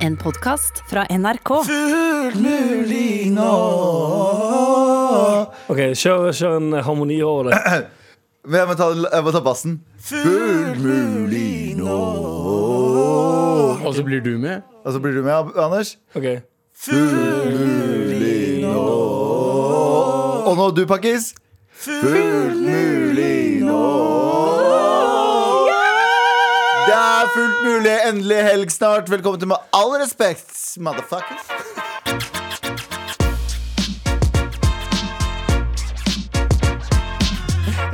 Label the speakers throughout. Speaker 1: En podkast fra NRK.
Speaker 2: Ok, kjør, kjør en harmoni over det.
Speaker 3: Men Jeg må ta, jeg må ta bassen. Full mulig nå.
Speaker 4: Og så blir du med.
Speaker 3: Og så blir du med, Anders.
Speaker 2: Ok,
Speaker 3: Og nå du, Pakkis. Full mulig nå. Det er fullt mulig. Endelig helg snart. Velkommen til Med all respekt, motherfuckers.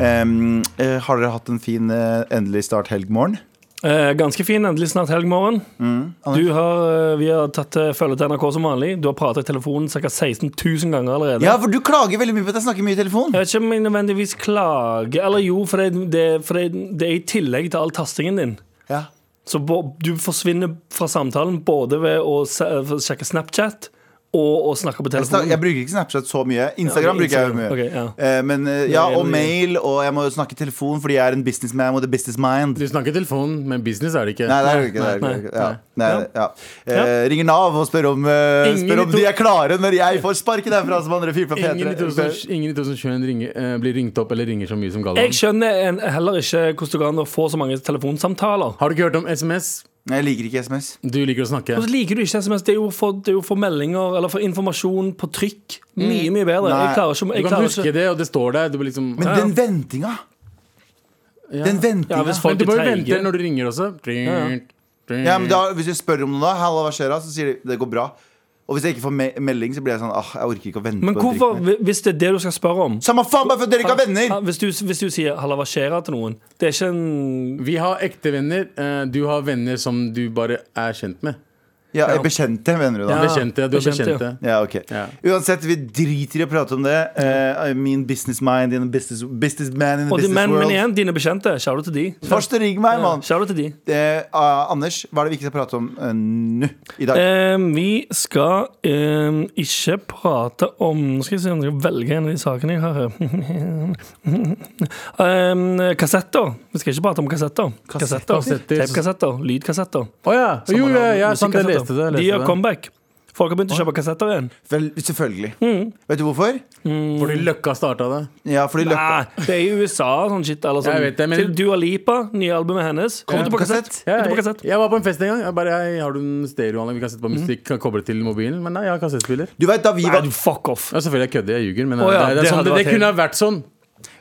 Speaker 3: Em, eh, har dere hatt en fin eh, endelig start helg-morgen?
Speaker 2: eh, Ganske fin. Endelig snart helgmorgen.
Speaker 3: Mm,
Speaker 2: Du har, eh, vi har tatt eh, følge til NRK som vanlig. Du har pratet i telefonen ca. 16 000 ganger allerede.
Speaker 3: Ja, for du klager veldig mye på at jeg snakker mye i telefon.
Speaker 2: Jeg vet ikke om jeg nødvendigvis klager. Eller jo, for det, det, for det, det er i tillegg til all tastingen din.
Speaker 3: Ja.
Speaker 2: Så bo, du forsvinner fra samtalen både ved å se, sjekke Snapchat og å snakke på
Speaker 3: Jeg, snak- jeg
Speaker 2: telefonen.
Speaker 3: bruker ikke Snapchat så mye. Instagram
Speaker 2: Ja,
Speaker 3: bruker jeg jo mye.
Speaker 2: Instagram. Ok, ja.
Speaker 3: Eh, Men eh, ja,
Speaker 2: Nei,
Speaker 3: Og
Speaker 2: nå-
Speaker 3: mail, og jeg må jo snakke i telefon fordi jeg er en businessman with a business mind.
Speaker 4: Du snakker i telefonen, men business er det ikke.
Speaker 3: Nei, det er jo ikke det. Er,
Speaker 2: nei,
Speaker 3: jo ikke- ja.
Speaker 2: nei.
Speaker 3: Nei, ja. Eh, ringer Nav og spør om, eh,
Speaker 2: Ingen
Speaker 3: spør om
Speaker 2: i to-
Speaker 3: de er klare når jeg får sparken derfra som andre fyr fra
Speaker 4: Ingen i
Speaker 3: P3.
Speaker 4: 2000 ingen i 2021 ringer, eh, blir ringt opp eller ringer så mye som Galvan.
Speaker 2: Jeg skjønner en, heller ikke hvordan det går an å få så mange telefonsamtaler.
Speaker 4: Har du ikke hørt om SMS?
Speaker 3: Nei, Jeg liker ikke SMS.
Speaker 4: Du liker å snakke.
Speaker 2: Og så liker du ikke SMS. Det er jo for, det er jo for meldinger eller for informasjon på trykk. Mye, mye bedre.
Speaker 3: Mm. Nei.
Speaker 2: Jeg klarer ikke,
Speaker 4: Du
Speaker 2: jeg
Speaker 4: kan
Speaker 2: klarer
Speaker 4: huske
Speaker 2: ikke.
Speaker 4: det, og det står der. Du blir liksom,
Speaker 3: Men
Speaker 4: ja,
Speaker 3: den ventinga!
Speaker 4: ja.
Speaker 3: Den
Speaker 2: Ja, hvis
Speaker 3: ventinga.
Speaker 2: folk
Speaker 4: Men du
Speaker 2: er
Speaker 4: må jo
Speaker 2: treige.
Speaker 4: vente når du ringer også.
Speaker 2: ja.
Speaker 3: Ja, men da, hvis jeg spør om noe, da, Halla, hva skjer da? så sier de det går bra. Og hvis jeg ikke får me melding, så blir jeg sånn ah, jeg orker ikke å vente.
Speaker 2: Men
Speaker 3: på den
Speaker 2: hvorfor,
Speaker 3: dritten her.»
Speaker 2: hvis det er det du skal spørre om
Speaker 3: Samme faen, bare for at dere ikke har venner!
Speaker 2: Ja, hvis, du, hvis du sier 'halla, hva skjer her?' til noen Det er ikke en
Speaker 4: Vi har ekte venner. eh, Du har venner som du bare er kjent med.
Speaker 3: Ja, jeg bekjente, mener du da?
Speaker 4: Bekjente. Du er
Speaker 2: bekjente,
Speaker 4: bekjente.
Speaker 3: Ja, ok
Speaker 4: Ja.
Speaker 3: Uansett, vi driter i å prate om det. Eh, min business mind in a business, business man in a
Speaker 2: og de,
Speaker 3: business
Speaker 2: men, men
Speaker 3: world.
Speaker 2: igjen, dine bekjente. Shout out til de.
Speaker 3: Først ring meg, mann.
Speaker 2: Shout out til de.
Speaker 3: Eh, ah, Anders, hva er det vi ikke skal prate om eh, nå? I dag?
Speaker 2: Eh, vi skal eh, ikke prate om Nå skal jeg se om jeg skal velge en av de sakene jeg har her. eh, kassetter. Vi skal ikke prate om kassetter. Kassetter.
Speaker 4: Kassetter.
Speaker 2: Tapekassetter. Lydkassetter.
Speaker 4: Å ja. Jo, ja, ja, sant, jeg
Speaker 2: Musikkassetter.
Speaker 4: leste det. jeg
Speaker 2: De gjør
Speaker 4: Leste det.
Speaker 2: comeback. Folk har begynt å kjøpe kassetter igjen.
Speaker 3: Vel, selvfølgelig. Vet du hvorfor?
Speaker 4: Fordi Løkka starta det.
Speaker 3: Ja, fordi Løkka
Speaker 2: Mm. Nei, det er i USA og sånn shit. Eller sånn.
Speaker 4: Jeg vet det, men-
Speaker 2: Til Dua Lipa, nye albumet hennes. Kommer
Speaker 3: Ja.
Speaker 2: til på kassett.
Speaker 3: Kassett?
Speaker 4: Ja,
Speaker 2: Ute på
Speaker 4: jeg,
Speaker 2: kassett.
Speaker 4: jeg var på en fest en gang. Jeg bare, jeg, har du en stereoanlegg vi kan sette på musikk? Kan koble til mobilen? Men nei, jeg har kassettspiller.
Speaker 3: Du vet da vi
Speaker 2: Nei,
Speaker 3: var Eh,
Speaker 2: du fuck off.
Speaker 4: Ja, selvfølgelig jeg kødder, jeg ljuger. Men
Speaker 2: Å ja,
Speaker 4: det, er- det,
Speaker 2: det hadde
Speaker 4: er sånn, det,
Speaker 2: vært
Speaker 4: det kunne ha vært sånn.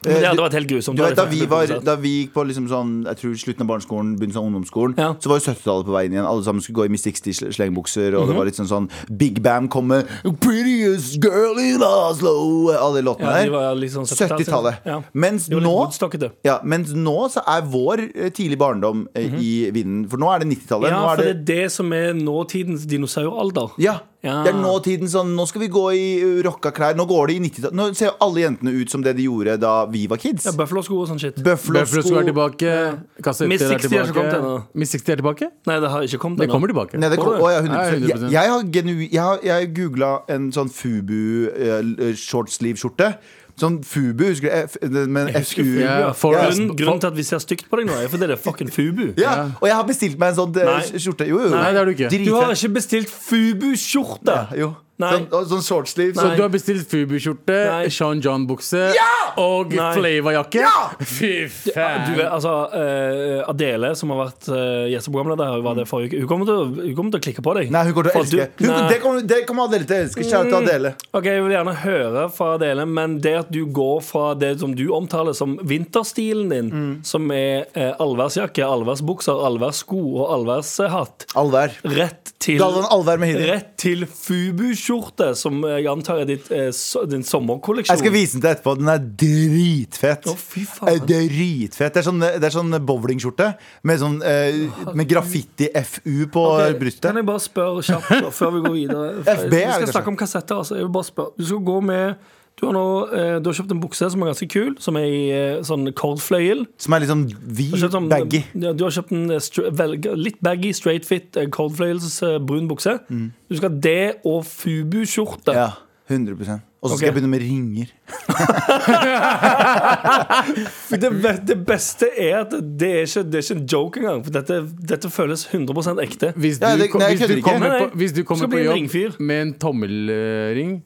Speaker 2: Det
Speaker 3: du-
Speaker 2: hadde vært helt grusomt.
Speaker 3: du vet da
Speaker 2: hadde
Speaker 3: vi,
Speaker 2: jeg
Speaker 3: var,
Speaker 2: faktisk
Speaker 3: da vi gikk på liksom sånn Jeg tror slutten av barneskolen, begynnelsen av ungdomsskolen,
Speaker 2: Ja.
Speaker 3: så var jo 70-tallet på veien igjen. Alle sammen skulle gå i Miss Sixty-slengbukser,
Speaker 2: Mhm.
Speaker 3: og det var litt sånn sånn Big Bam kom med 'Prettiest girl in Oslo', alle de låtene
Speaker 2: Ja, de
Speaker 3: der.
Speaker 2: var litt sånn 70-tallet.
Speaker 3: 70-tallet.
Speaker 2: Ja.
Speaker 3: Mens
Speaker 2: Det var litt
Speaker 3: nå
Speaker 2: Woodstockete.
Speaker 3: ja, mens nå så er vår eh, tidlig barndom eh, i vinden. For nå er det
Speaker 2: Mhm.
Speaker 3: 90-tallet.
Speaker 2: Ja,
Speaker 3: nå er
Speaker 2: for det er det som er nåtidens dinosauralder.
Speaker 3: Ja.
Speaker 2: Ja.
Speaker 3: Det er nå tiden sånn Nå skal vi gå i uh, rocka klær. Nå går det i 90-tallet. Nå ser jo alle jentene ut som det de gjorde da vi var kids.
Speaker 2: Ja, Buffalo-sko og sånn shit.
Speaker 3: Bøffelosko.
Speaker 4: Buffalo Sko er tilbake. Kassetter
Speaker 2: Miss
Speaker 4: er
Speaker 2: 60 er ikke kommet
Speaker 4: tilbake.
Speaker 2: ennå.
Speaker 4: Miss 60 er tilbake?
Speaker 2: Nei, det har ikke kommet
Speaker 4: Det
Speaker 2: ennå.
Speaker 4: kommer tilbake.
Speaker 3: Nei, det kom,
Speaker 2: Tror du?
Speaker 3: å, ja, 100%.
Speaker 4: Nei,
Speaker 3: Jeg,
Speaker 4: 100%.
Speaker 3: jeg har, genu, jeg har, jeg har googla en sånn Fubu uh, shortsleeve-skjorte. Sånn Fubu, husker du? F, den med en FU.
Speaker 4: Fubu, ja. For-
Speaker 3: Ja. altså,
Speaker 2: Grunnen, grunnen til at vi ser stygt på deg nå, er fordi det er fucking Fubu.
Speaker 3: Ja, og jeg har bestilt meg en sånn eh,
Speaker 2: Nei.
Speaker 3: skjorte. Jo, jo.
Speaker 4: Nei, det har du ikke.
Speaker 3: Dritfett.
Speaker 2: Du har ikke bestilt Fubu-skjorte!
Speaker 3: Jo.
Speaker 2: Nei.
Speaker 3: Sånn, og sånn shortsleeve.
Speaker 4: Så
Speaker 3: Sånn,
Speaker 4: du har bestilt Fubu-skjorte,
Speaker 2: Nei.
Speaker 4: Sean John-bukse
Speaker 3: Ja!
Speaker 4: og
Speaker 2: Nei.
Speaker 4: Flava-jakke?
Speaker 3: Ja!
Speaker 4: Fy
Speaker 2: Du,
Speaker 4: faen.
Speaker 2: vet, altså, eh, Adele, som har vært eh, gjesteprogramleder her, var det forrige uke. Hun kommer, til, å- hun kommer til å klikke på deg.
Speaker 3: Nei, hun kommer til å
Speaker 2: For du-
Speaker 3: elske hun,
Speaker 2: Nei.
Speaker 3: det. Kommer, det kommer Adele til å elske. Kjære til Adele.
Speaker 2: Ok, Jeg vil gjerne høre fra Adele, men det at du går fra det som du omtaler som vinterstilen din,
Speaker 3: Mm.
Speaker 2: som er eh, allværsjakke, allværsbukser, allværssko og allværshatt,
Speaker 3: Alver.
Speaker 2: rett til
Speaker 3: Galvan Alver med Hidi.
Speaker 2: Rett til Fubu-skjorte, som jeg antar er ditt, eh, so, din sommerkolleksjon.
Speaker 3: Jeg skal vise den til etterpå. Den er dritfett.
Speaker 2: Å, fy
Speaker 3: Eh,
Speaker 2: faen.
Speaker 3: Dritfett. Det er sånn, det er sånn bowlingskjorte med, sånn, eh, med graffiti-FU på eh,
Speaker 2: Ok, Kan
Speaker 3: brystet.
Speaker 2: jeg bare spørre kjapt da, før vi går videre?
Speaker 3: FB
Speaker 2: vi
Speaker 3: er det
Speaker 2: skal
Speaker 3: kanskje?
Speaker 2: snakke om kassetter. Altså. Jeg vil bare spørre. Du skal gå med du har, nå, eh, du har kjøpt en bukse som er ganske kul, som er i eh, sånn cordfløyel.
Speaker 3: Som er litt sånn
Speaker 2: Du
Speaker 3: vid,
Speaker 2: har kjøpt sånn-
Speaker 3: baggy.
Speaker 2: Ja, du har kjøpt en eh, stra- vel, litt baggy, straight fit, eh, cordfløyels eh, brun bukse. Du skal ha det og Fubu-skjorte.
Speaker 3: Mm. Ja. 100 Og så skal
Speaker 2: Ok.
Speaker 3: jeg begynne med ringer.
Speaker 2: For Det, be- det beste er at det er ikke, det er ikke en joke engang. For dette, dette føles 100 ekte.
Speaker 4: Hvis du,
Speaker 3: Ja, det-
Speaker 4: ko-
Speaker 3: nei, jeg
Speaker 4: hvis
Speaker 3: kødder
Speaker 4: du
Speaker 3: ikke.
Speaker 4: kommer,
Speaker 2: Nei, nei.
Speaker 4: på, hvis du kommer
Speaker 2: Skal
Speaker 4: på
Speaker 2: bli en
Speaker 4: jobb
Speaker 2: ringfyr.
Speaker 4: med en tommelring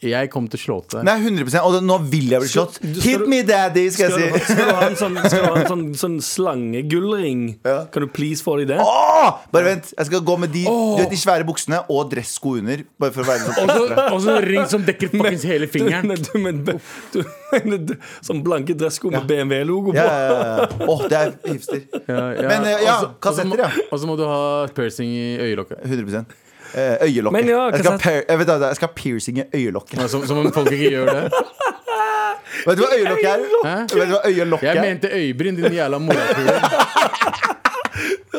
Speaker 4: Jeg kommer til å slå til deg.
Speaker 3: Mm. Nei, 100 Og det, nå vil jeg bli
Speaker 2: Skal-
Speaker 3: slått.
Speaker 2: du- skal
Speaker 3: Hit
Speaker 2: du-
Speaker 3: me daddy, skal
Speaker 2: Skal du,
Speaker 3: jeg si.
Speaker 2: skal du ha en sånn, skal du ha en sånn, sånn slangegullring?
Speaker 3: Ja.
Speaker 2: Kan du please få deg det?
Speaker 3: Åh, bare vent. Jeg skal gå med de, du vet, de svære buksene og dressko under. Bare for å være sånn
Speaker 4: Og så- Og så en ring som dekker fuckings
Speaker 2: Du,
Speaker 4: hele fingeren.
Speaker 2: mener- du, mener- du, mener du, sånn blanke dressko med BMW-logo på?
Speaker 3: ja, ja, ja. Åh, det er hipster. Men eh, ja,
Speaker 4: Også- også må-
Speaker 3: kassetter, ja.
Speaker 4: Og så må du ha piercing i øyelokket.
Speaker 3: 100 eh, Øyelokket.
Speaker 2: Men ja,
Speaker 3: jeg, skal
Speaker 2: kassett.
Speaker 3: per, jeg, vet, da, jeg skal ha piercing i øyelokket.
Speaker 4: Ja, Som, som om folk ikke gjør det.
Speaker 3: Vet du hva øyelokket er?
Speaker 4: Hæ?
Speaker 3: Vet du hva øyelokket
Speaker 4: Jeg
Speaker 3: er?
Speaker 4: mente øyebryn, din jævla morapule.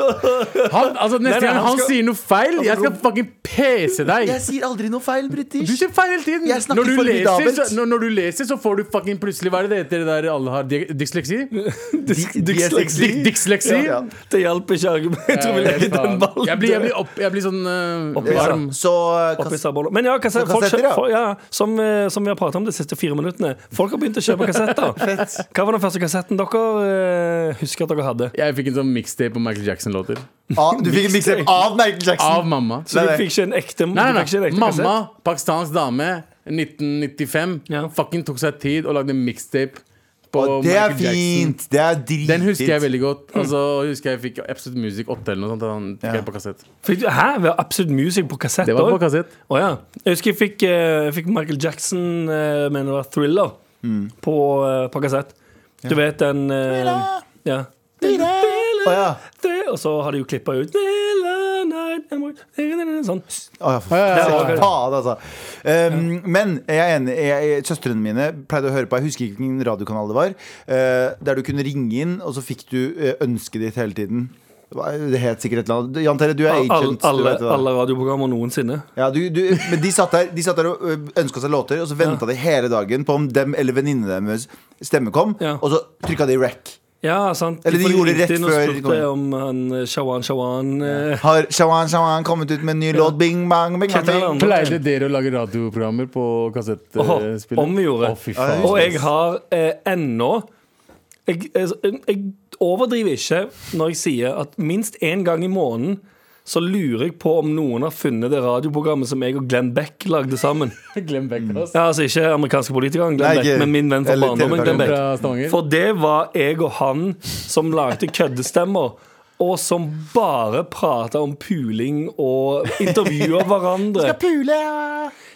Speaker 4: Han- Altså,
Speaker 2: Nei, nei,
Speaker 4: neste gang
Speaker 2: han
Speaker 4: han
Speaker 2: skal-
Speaker 4: sier noe feil, jeg skal fucking pese deg.
Speaker 3: Jeg sier aldri noe feil,
Speaker 4: Du
Speaker 3: British.
Speaker 4: sier feil hele tiden.
Speaker 3: Jeg snakker
Speaker 4: Når du,
Speaker 3: formidabelt.
Speaker 4: leser, så, når, når du leser, så får du fucking plutselig Hva er det det heter det der alle har? Di- Dysleksi?
Speaker 2: Dysk-
Speaker 3: de er
Speaker 2: dyslexi.
Speaker 3: sexy. Eh,
Speaker 4: Dy- Dysleksi? Eh,
Speaker 3: Ja, ja.
Speaker 2: Det hjelper ikke. argument. Jeg tror vi legger den ballen
Speaker 4: Jeg blir, jeg
Speaker 2: død.
Speaker 4: blir, opp, jeg blir sånn eh,
Speaker 2: Opp i
Speaker 4: varm.
Speaker 3: Så eh,
Speaker 2: Oppi
Speaker 3: kass-
Speaker 2: sabbola. Men ja, kassett,
Speaker 3: Og
Speaker 2: folk,
Speaker 3: kassetter, ja.
Speaker 2: kjø- folk, ja som, eh, som vi har pratet om de siste fire minuttene. Folk har begynt å kjøpe kassetter. Hva var den første kassetten dere eh, husker at dere hadde?
Speaker 4: Jeg fikk en sånn mixtape på Michael Jackson-låter.
Speaker 3: Ah, Du fikk en mixtape av Michael
Speaker 4: Av
Speaker 3: Jackson.
Speaker 4: mamma.
Speaker 2: Så
Speaker 3: Nei,
Speaker 2: du
Speaker 3: nei.
Speaker 2: fikk ikke en ekte, du
Speaker 4: Nei, nei,
Speaker 2: fikk ikke en
Speaker 4: nei.
Speaker 2: ekte
Speaker 4: Mamma,
Speaker 2: kassett?
Speaker 4: pakistansk dame, 1995,
Speaker 2: Ja.
Speaker 4: fucking tok seg tid og lagde en mixtape på
Speaker 3: Og det er
Speaker 4: Michael Jackson.
Speaker 3: fint. Det er dritfint.
Speaker 4: Den husker jeg veldig godt. Og så husker jeg jeg fikk Absolute Music 8 eller noe sånt. Den fikk jeg på kassett.
Speaker 2: Fikk du, hæ? Vi har Absolute Music på kassett
Speaker 4: Det var på
Speaker 2: også?
Speaker 4: kassett.
Speaker 2: Å ja. Jeg husker jeg fikk, eh, jeg fikk Michael Jackson, eh, mener det var Thriller,
Speaker 3: Mm.
Speaker 2: på, eh, på kassett. Du vet den eh, ja.
Speaker 3: Å ja.
Speaker 2: Det- Og så har de jo klippa ut Thriller night and we- Sånn.
Speaker 3: Å, ja, for
Speaker 2: ja, ja.
Speaker 3: faen, altså. Um, men jeg er enig. Jeg, jeg, søstrene mine pleide å høre på, jeg husker ikke hvilken radiokanal det var, eh, der du kunne ringe inn, og så fikk du eh, ønsket ditt hele tiden. Hva- Det het sikkert et eller annet. Jan Terje, du er agent.
Speaker 2: Alle,
Speaker 3: du
Speaker 2: alle,
Speaker 3: vet det da.
Speaker 2: alle radioprogrammer noensinne.
Speaker 3: Ja, du, du, men de satt der, de satt der og ønska seg låter, og så venta de hele dagen på om dem eller venninnene deres stemme kom,
Speaker 2: Ja.
Speaker 3: og så trykka de rec.
Speaker 2: Ja, sant.
Speaker 3: Eller de
Speaker 2: For
Speaker 3: gjorde det
Speaker 2: ringte
Speaker 3: rett
Speaker 2: inn og
Speaker 3: før de
Speaker 2: spurte
Speaker 3: kom inn.
Speaker 2: om han eh, Shawan Shawan eh,
Speaker 3: Har Shawan Shawan kommet ut med en ny låt? Bing bang, bing bang,
Speaker 2: Kjetil
Speaker 3: bing.
Speaker 2: Allan.
Speaker 4: Pleide dere å lage radioprogrammer
Speaker 2: Åh,
Speaker 4: på kassettspillet?
Speaker 2: om vi gjorde.
Speaker 4: eh, Å, fy faen.
Speaker 2: Og jeg har eh, ennå jeg, jeg, jeg overdriver ikke når jeg sier at minst én gang i måneden så lurer jeg på om noen har funnet det radioprogrammet som jeg og Glenn Beck lagde sammen.
Speaker 4: Glem Beck,
Speaker 3: Mm.
Speaker 4: ass.
Speaker 2: Ja, altså Ikke amerikanske politikeren Glenn
Speaker 3: Nei, ikke-
Speaker 2: Beck, men min venn fra
Speaker 3: eller
Speaker 2: barndommen. Glenn
Speaker 4: Fra
Speaker 2: Beck.
Speaker 4: Stavanger.
Speaker 2: For det var jeg og han som lagde køddestemmer. Og som bare prata om puling og intervjuer hverandre.
Speaker 3: Pule!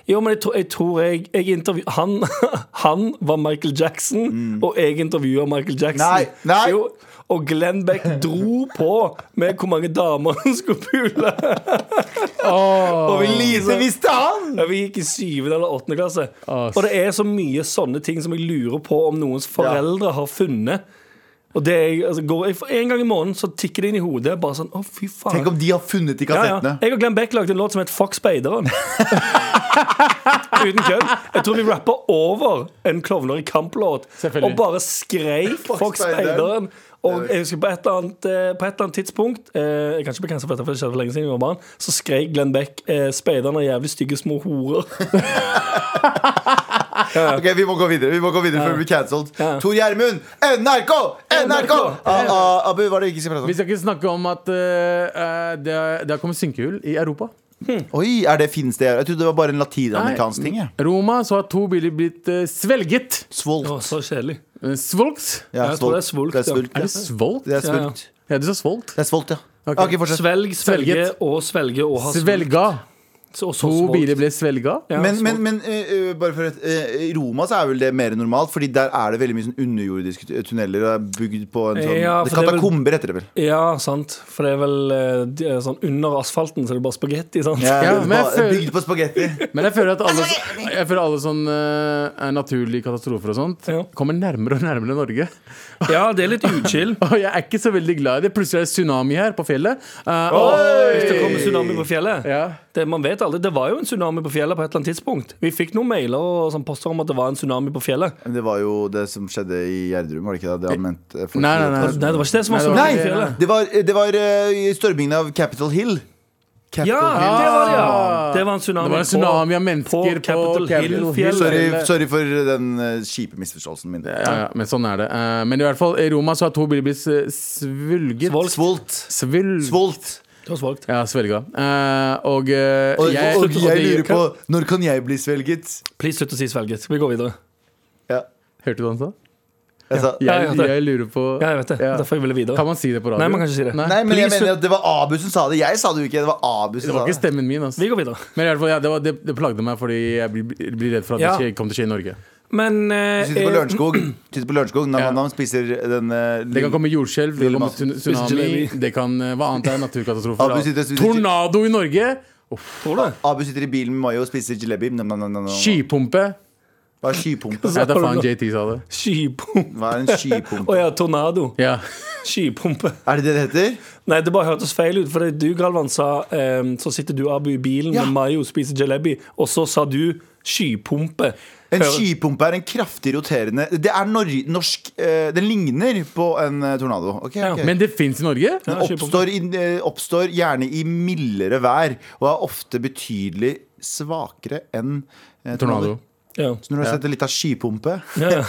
Speaker 2: Jo, men jeg, tror- jeg tror jeg, jeg intervju- han, han var Michael Jackson, og jeg intervjua Michael Jackson.
Speaker 3: Mm. Nei, nei.
Speaker 2: Jo, og Glenn Beck dro på med hvor mange damer han skulle pule.
Speaker 4: Åh.
Speaker 2: Og vi,
Speaker 3: Lise
Speaker 2: lise, vi,
Speaker 3: visste han!
Speaker 2: ja, vi gikk i syvende eller åttende klasse.
Speaker 4: Ass.
Speaker 2: Og det er så mye sånne ting som jeg lurer på om noens foreldre har funnet. Og det er, altså, går, jeg, for En gang i måneden så tikker det inn i hodet. Bare sånn, å fy faen
Speaker 3: Tenk om de har funnet de
Speaker 2: ja, ja.
Speaker 3: kassettene.
Speaker 2: Jeg og Glenn Beck lagde en låt som het Fuck speideren. Uten kødd. Jeg tror vi rappa over en Klovner i kamp-låt.
Speaker 4: Selvfølgelig.
Speaker 2: Og bare skreik Fuck speideren. Og jeg husker på et eller annet, eh, på et eller annet tidspunkt eh, Jeg kan ikke bekrense for dette, for det skjedde for lenge siden jeg var barn. Så skreik Glenn Beck eh, 'Speiderne er jævlig stygge små horer'.
Speaker 3: Ok, Vi må gå videre Vi må gå videre før vi blir cancelled. Tor Gjermund, NRK! NRK! Ah, ah, Abu, var det ikke så bra
Speaker 4: Vi
Speaker 3: sånn?
Speaker 4: skal ikke snakke om at eh, eh, det, har- det har kommet synkehull i Europa.
Speaker 3: Oi, er det finnes det? Jeg trodde det var bare en latinamerikansk ting. jeg.
Speaker 4: Roma så har to biler blitt eh, svelget.
Speaker 3: Svolt.
Speaker 2: Å, så kjedelig.
Speaker 4: Eh, Svolgt?
Speaker 3: Ja,
Speaker 2: jeg tror det er svolt,
Speaker 3: Det er
Speaker 2: ja.
Speaker 3: svulgt,
Speaker 4: Er
Speaker 3: ja.
Speaker 4: det svolgt?
Speaker 3: Det er
Speaker 2: Ja, ja.
Speaker 3: svulgt.
Speaker 4: Ja, du sa svolgt.
Speaker 3: Det er svolt, ja.
Speaker 4: Ok.
Speaker 3: Ok, fortsett.
Speaker 2: Svelg, svelge
Speaker 4: Svelget.
Speaker 2: og svelge og ha
Speaker 4: Svelga.
Speaker 2: Så, så
Speaker 4: To
Speaker 2: svolt.
Speaker 4: biler ble svelga.
Speaker 2: Ja,
Speaker 3: Men,
Speaker 2: svolt.
Speaker 3: men, men eh, eh, bare for at eh, i Roma så er vel det mer normalt, Fordi der er det veldig mye sånn underjordiske tu- tunneler. Og er bygd på en sånn
Speaker 2: Ja,
Speaker 3: det
Speaker 2: for det er vel-
Speaker 3: Katakomber heter det vel.
Speaker 2: Ja, sant. For det er vel eh, de er sånn under asfalten, så det er bare spagetti. sant?
Speaker 4: Ja, men jeg
Speaker 3: ba-
Speaker 4: føler-
Speaker 3: Bygd på spagetti.
Speaker 4: Men jeg føler at alle, Altså, jeg føler alle sånne eh, naturlige katastrofer og sånt
Speaker 2: Ja.
Speaker 4: kommer nærmere og nærmere Norge.
Speaker 2: Ja, det er litt uchill.
Speaker 4: Og jeg er ikke så veldig glad i det. Plutselig er det tsunami her på fjellet. Eh,
Speaker 2: Åh,
Speaker 4: og-
Speaker 2: Hvis det kommer tsunami på fjellet
Speaker 4: ja.
Speaker 2: det, Man vet aldri, det var jo en tsunami på fjellet på et eller annet tidspunkt Vi fikk noen mailer og sånn poster om at det var en tsunami på fjellet
Speaker 3: Men det var jo det som skjedde i Gjerdrum, var det ikke det? det han mente, eh, folk-
Speaker 4: Nei, nei, nei.
Speaker 2: Nei, Altså, det var ikke det som var
Speaker 4: Nei, det
Speaker 2: tsunami
Speaker 4: var
Speaker 2: på
Speaker 4: ikke det,
Speaker 2: fjellet
Speaker 3: Det var, det var eh, i stormingen av Capitol Hill.
Speaker 2: Ja, det var det, ja! Det var en tsunami,
Speaker 4: Det var en tsunami av mennesker på
Speaker 2: Capitol
Speaker 4: Capitol Hill.
Speaker 2: Hill-fjellet.
Speaker 3: Sorry, sorry for den eh, kjipe misforståelsen min.
Speaker 4: Ja, ja, men sånn er det. Eh, men i hvert fall, i Roma så har to biler blitt eh, svulget.
Speaker 2: Svolt.
Speaker 3: Svolt.
Speaker 4: Svul...
Speaker 3: Svolt.
Speaker 2: Det var svagt.
Speaker 4: Ja, svelga. Eh, og, eh,
Speaker 3: Og,
Speaker 4: jeg,
Speaker 3: og jeg lurer
Speaker 4: det-
Speaker 3: på når kan jeg bli svelget?
Speaker 2: Please slutt å si svelget. Vi går videre.
Speaker 3: Ja,
Speaker 4: Hørte du hva han sa?
Speaker 3: jeg sa
Speaker 2: Ja, jeg
Speaker 4: Jeg,
Speaker 2: hørte det.
Speaker 4: jeg lurer på
Speaker 2: Ja, jeg vet det.
Speaker 4: Ja.
Speaker 2: Derfor jeg ville videre.
Speaker 4: Kan man si det på radio?
Speaker 2: Nei, man kan ikke si det.
Speaker 3: Nei, men jeg
Speaker 4: Please,
Speaker 3: mener at det var Abu som sa det. Jeg sa det jo ikke. Det var Abu
Speaker 4: Det
Speaker 3: som sa
Speaker 4: var ikke
Speaker 3: det.
Speaker 4: stemmen min. altså. ass.
Speaker 2: Vi går videre.
Speaker 4: Men i hvert fall, ja, det, var, det, det plagde meg fordi jeg blir, blir redd for at
Speaker 2: Ja.
Speaker 4: det skje- kom til å skje i Norge.
Speaker 2: Men eh,
Speaker 3: Du sitter på
Speaker 2: eh,
Speaker 3: Lørenskog. Du Sitter på Lørenskog.
Speaker 4: Ja.
Speaker 3: Nam-nam spiser den eh,
Speaker 4: mm. Det kan
Speaker 3: lille-
Speaker 4: komme jordskjelv, det kan komme tsun-
Speaker 2: Spiser
Speaker 4: tsunami,
Speaker 2: jalebi.
Speaker 4: det kan eh, Hva annet er naturkatastrofer?
Speaker 3: Abu sitter- sitter-
Speaker 4: Tornado i Norge! Uff.
Speaker 2: Tror du det?
Speaker 3: Abu sitter i bilen med Mayo og spiser jalebi. Nam, nam, nam, nam, nam.
Speaker 4: Skypumpe.
Speaker 3: Hva er skypumpe?
Speaker 4: Ja, da faen JT sa det.
Speaker 2: Skypumpe.
Speaker 3: Hva er en
Speaker 2: Å
Speaker 3: skypumpe?
Speaker 2: ja, tornado.
Speaker 4: Ja.
Speaker 2: Skypumpe.
Speaker 3: Er det det det heter?
Speaker 2: Nei, det bare hørtes feil ut. For du, Galvan, sa ehm, Så sitter du, Abu, i bilen
Speaker 3: Ja.
Speaker 2: med Mayo, spiser jalebi, og så sa du skypumpe.
Speaker 3: En
Speaker 2: Hører-
Speaker 3: skypumpe er en kraftig roterende Det er nor norsk eh, Den ligner på en eh, tornado. Ok,
Speaker 2: Ja.
Speaker 3: ok.
Speaker 4: Men det fins i Norge?
Speaker 3: Den
Speaker 2: Ja, skypumpe.
Speaker 3: oppstår, i, eh, oppstår gjerne i mildere vær og er ofte betydelig svakere enn eh,
Speaker 4: Tornado.
Speaker 2: Ja.
Speaker 3: Så når du har sett en liten skypumpe
Speaker 2: Ja, ja.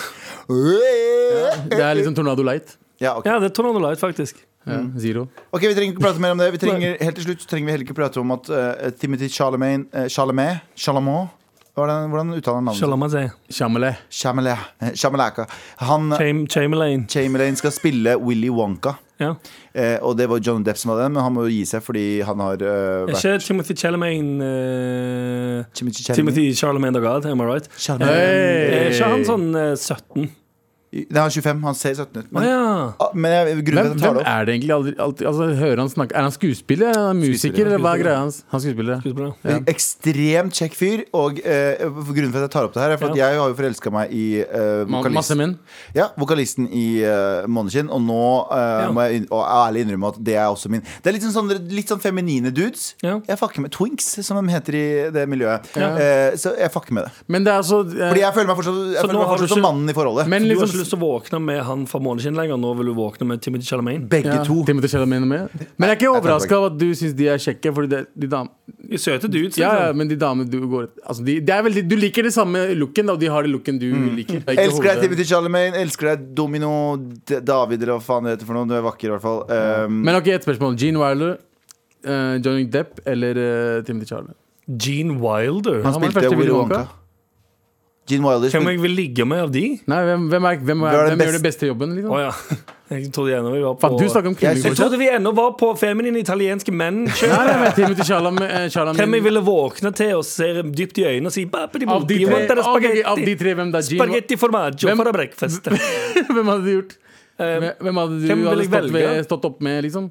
Speaker 4: Det er liksom tornado light.
Speaker 3: ja, ok.
Speaker 2: ja, det er tornado light, faktisk.
Speaker 4: Ja, zero.
Speaker 3: ok, vi trenger ikke prate mer om det. Vi trenger, helt til slutt så trenger vi heller ikke prate om at eh, Timothy Charlemagne eh, Chalamet Chalamot Hvordan, hvordan uttaler han navnet? sitt?
Speaker 2: Shalamazé.
Speaker 4: Chamelet.
Speaker 3: Chamelet- eh, Chamelaka. Han
Speaker 2: Cham Chamberlain.
Speaker 3: Chamberlain skal spille Willy Wonka.
Speaker 2: Ja.
Speaker 3: Eh, og det var John Depp som hadde den, men han må jo gi seg fordi han har eh,
Speaker 2: Er
Speaker 3: vært
Speaker 2: ikke Timothy Chalamain eh,
Speaker 3: Timothy Chalamet.
Speaker 2: Timothy Charlemagne the God, am I right?
Speaker 3: Chalamet.
Speaker 2: Er ikke han
Speaker 4: Hey.
Speaker 2: sånn eh, 17?
Speaker 3: Nei, han er 25. Han ser 17 ut.
Speaker 2: Å
Speaker 3: Men,
Speaker 2: ja.
Speaker 3: ah, men jeg, grunnen til
Speaker 4: Hvem,
Speaker 3: at jeg tar
Speaker 4: hvem
Speaker 3: det opp
Speaker 4: er det egentlig? Aldri, alltid, altså, hører han snakke Er han skuespiller? Er han musiker?
Speaker 3: Skuespiller,
Speaker 4: Eller hva er
Speaker 2: skuespiller.
Speaker 4: greia hans? Han skuespiller. ja.
Speaker 2: Skuespiller.
Speaker 3: Ekstremt kjekk fyr. Og eh, grunnen til at jeg tar opp det her, er for at
Speaker 2: Ja.
Speaker 3: jeg har jo forelska meg i eh,
Speaker 4: Ma-
Speaker 3: vokalist-
Speaker 4: Masse menn.
Speaker 3: ja, vokalisten i eh, Måneskinn. Og nå eh,
Speaker 2: Ja.
Speaker 3: må jeg inn- og ærlig innrømme at det er også min. Det er litt sånn, sånne- litt sånn feminine dudes.
Speaker 2: Ja.
Speaker 3: Jeg fucker med twinks, som de heter i det miljøet.
Speaker 4: Ja.
Speaker 3: Eh, så jeg fucker med det.
Speaker 4: Men det er altså eh,
Speaker 3: Fordi jeg føler meg fortsatt, jeg
Speaker 2: Så
Speaker 3: føler
Speaker 2: nå
Speaker 3: meg
Speaker 2: har du
Speaker 3: fortsatt som
Speaker 2: ikke-
Speaker 3: mannen i forholdet.
Speaker 4: Men
Speaker 2: Du har ikke
Speaker 4: liksom
Speaker 2: lyst til å våkne med han fra Måneskinn lenger. Nå vil du våkne med Timothy Chalamet.
Speaker 3: Begge
Speaker 4: ja,
Speaker 3: to.
Speaker 4: Timothy Chalamet er med. Men jeg er ikke overraska av at du syns de er kjekke. Fordi det, de dam
Speaker 2: I søte dudes.
Speaker 4: ja, ja,
Speaker 2: Liksom.
Speaker 4: men de damene du går altså, de, det er veldig, Du liker det samme looken, da, og de har det looken du liker. Det er ikke
Speaker 3: Mm. Elsker deg,
Speaker 4: hodet.
Speaker 3: Timothy Charlemagne. Elsker deg, Domino D- David, eller hva faen det heter for noe. Du er vakker, i hvert fall. Um,
Speaker 4: Men ok, et spørsmål. Gene Wilder, eh, Johnny Depp eller eh, Timothy Chalamet?
Speaker 2: Gene Wilder.
Speaker 3: han
Speaker 4: han var den
Speaker 3: spilte
Speaker 4: første
Speaker 3: Willy
Speaker 4: Willy
Speaker 3: Wonka.
Speaker 4: Wonka.
Speaker 3: Gene Wilder
Speaker 2: Hvem
Speaker 3: spilte
Speaker 2: jeg vil ligge med av de?
Speaker 4: Nei, hvem, hvem, er, hvem, er,
Speaker 3: Hvem er den
Speaker 4: hvem gjør
Speaker 3: best-
Speaker 4: den beste jobben?
Speaker 2: Å
Speaker 4: Liksom?
Speaker 2: ja. Jeg trodde gjerne vi var på
Speaker 4: Faen, du snakker om
Speaker 3: Jeg
Speaker 4: kvinnelige
Speaker 3: synes-
Speaker 2: Jeg trodde vi ennå var på feminine italienske menn.
Speaker 4: Nei, nei, men Timothy Chalamet, eh, Chalamet
Speaker 2: Hvem jeg ville våkne til og se dypt i øynene og si Pappa, de
Speaker 4: av, de
Speaker 2: you
Speaker 4: tre,
Speaker 2: want that
Speaker 4: av, de, av de
Speaker 2: spaghetti.
Speaker 4: tre, hvem da? Gene,
Speaker 2: Spaghetti formaggio
Speaker 4: Hvem-
Speaker 2: for a breakfast.
Speaker 4: hvem hadde du gjort?
Speaker 2: Eh,
Speaker 4: Hvem, hvem hadde du
Speaker 2: hvem vil
Speaker 4: hadde
Speaker 2: jeg
Speaker 4: stått,
Speaker 2: velge?
Speaker 4: ved, stått opp med, liksom?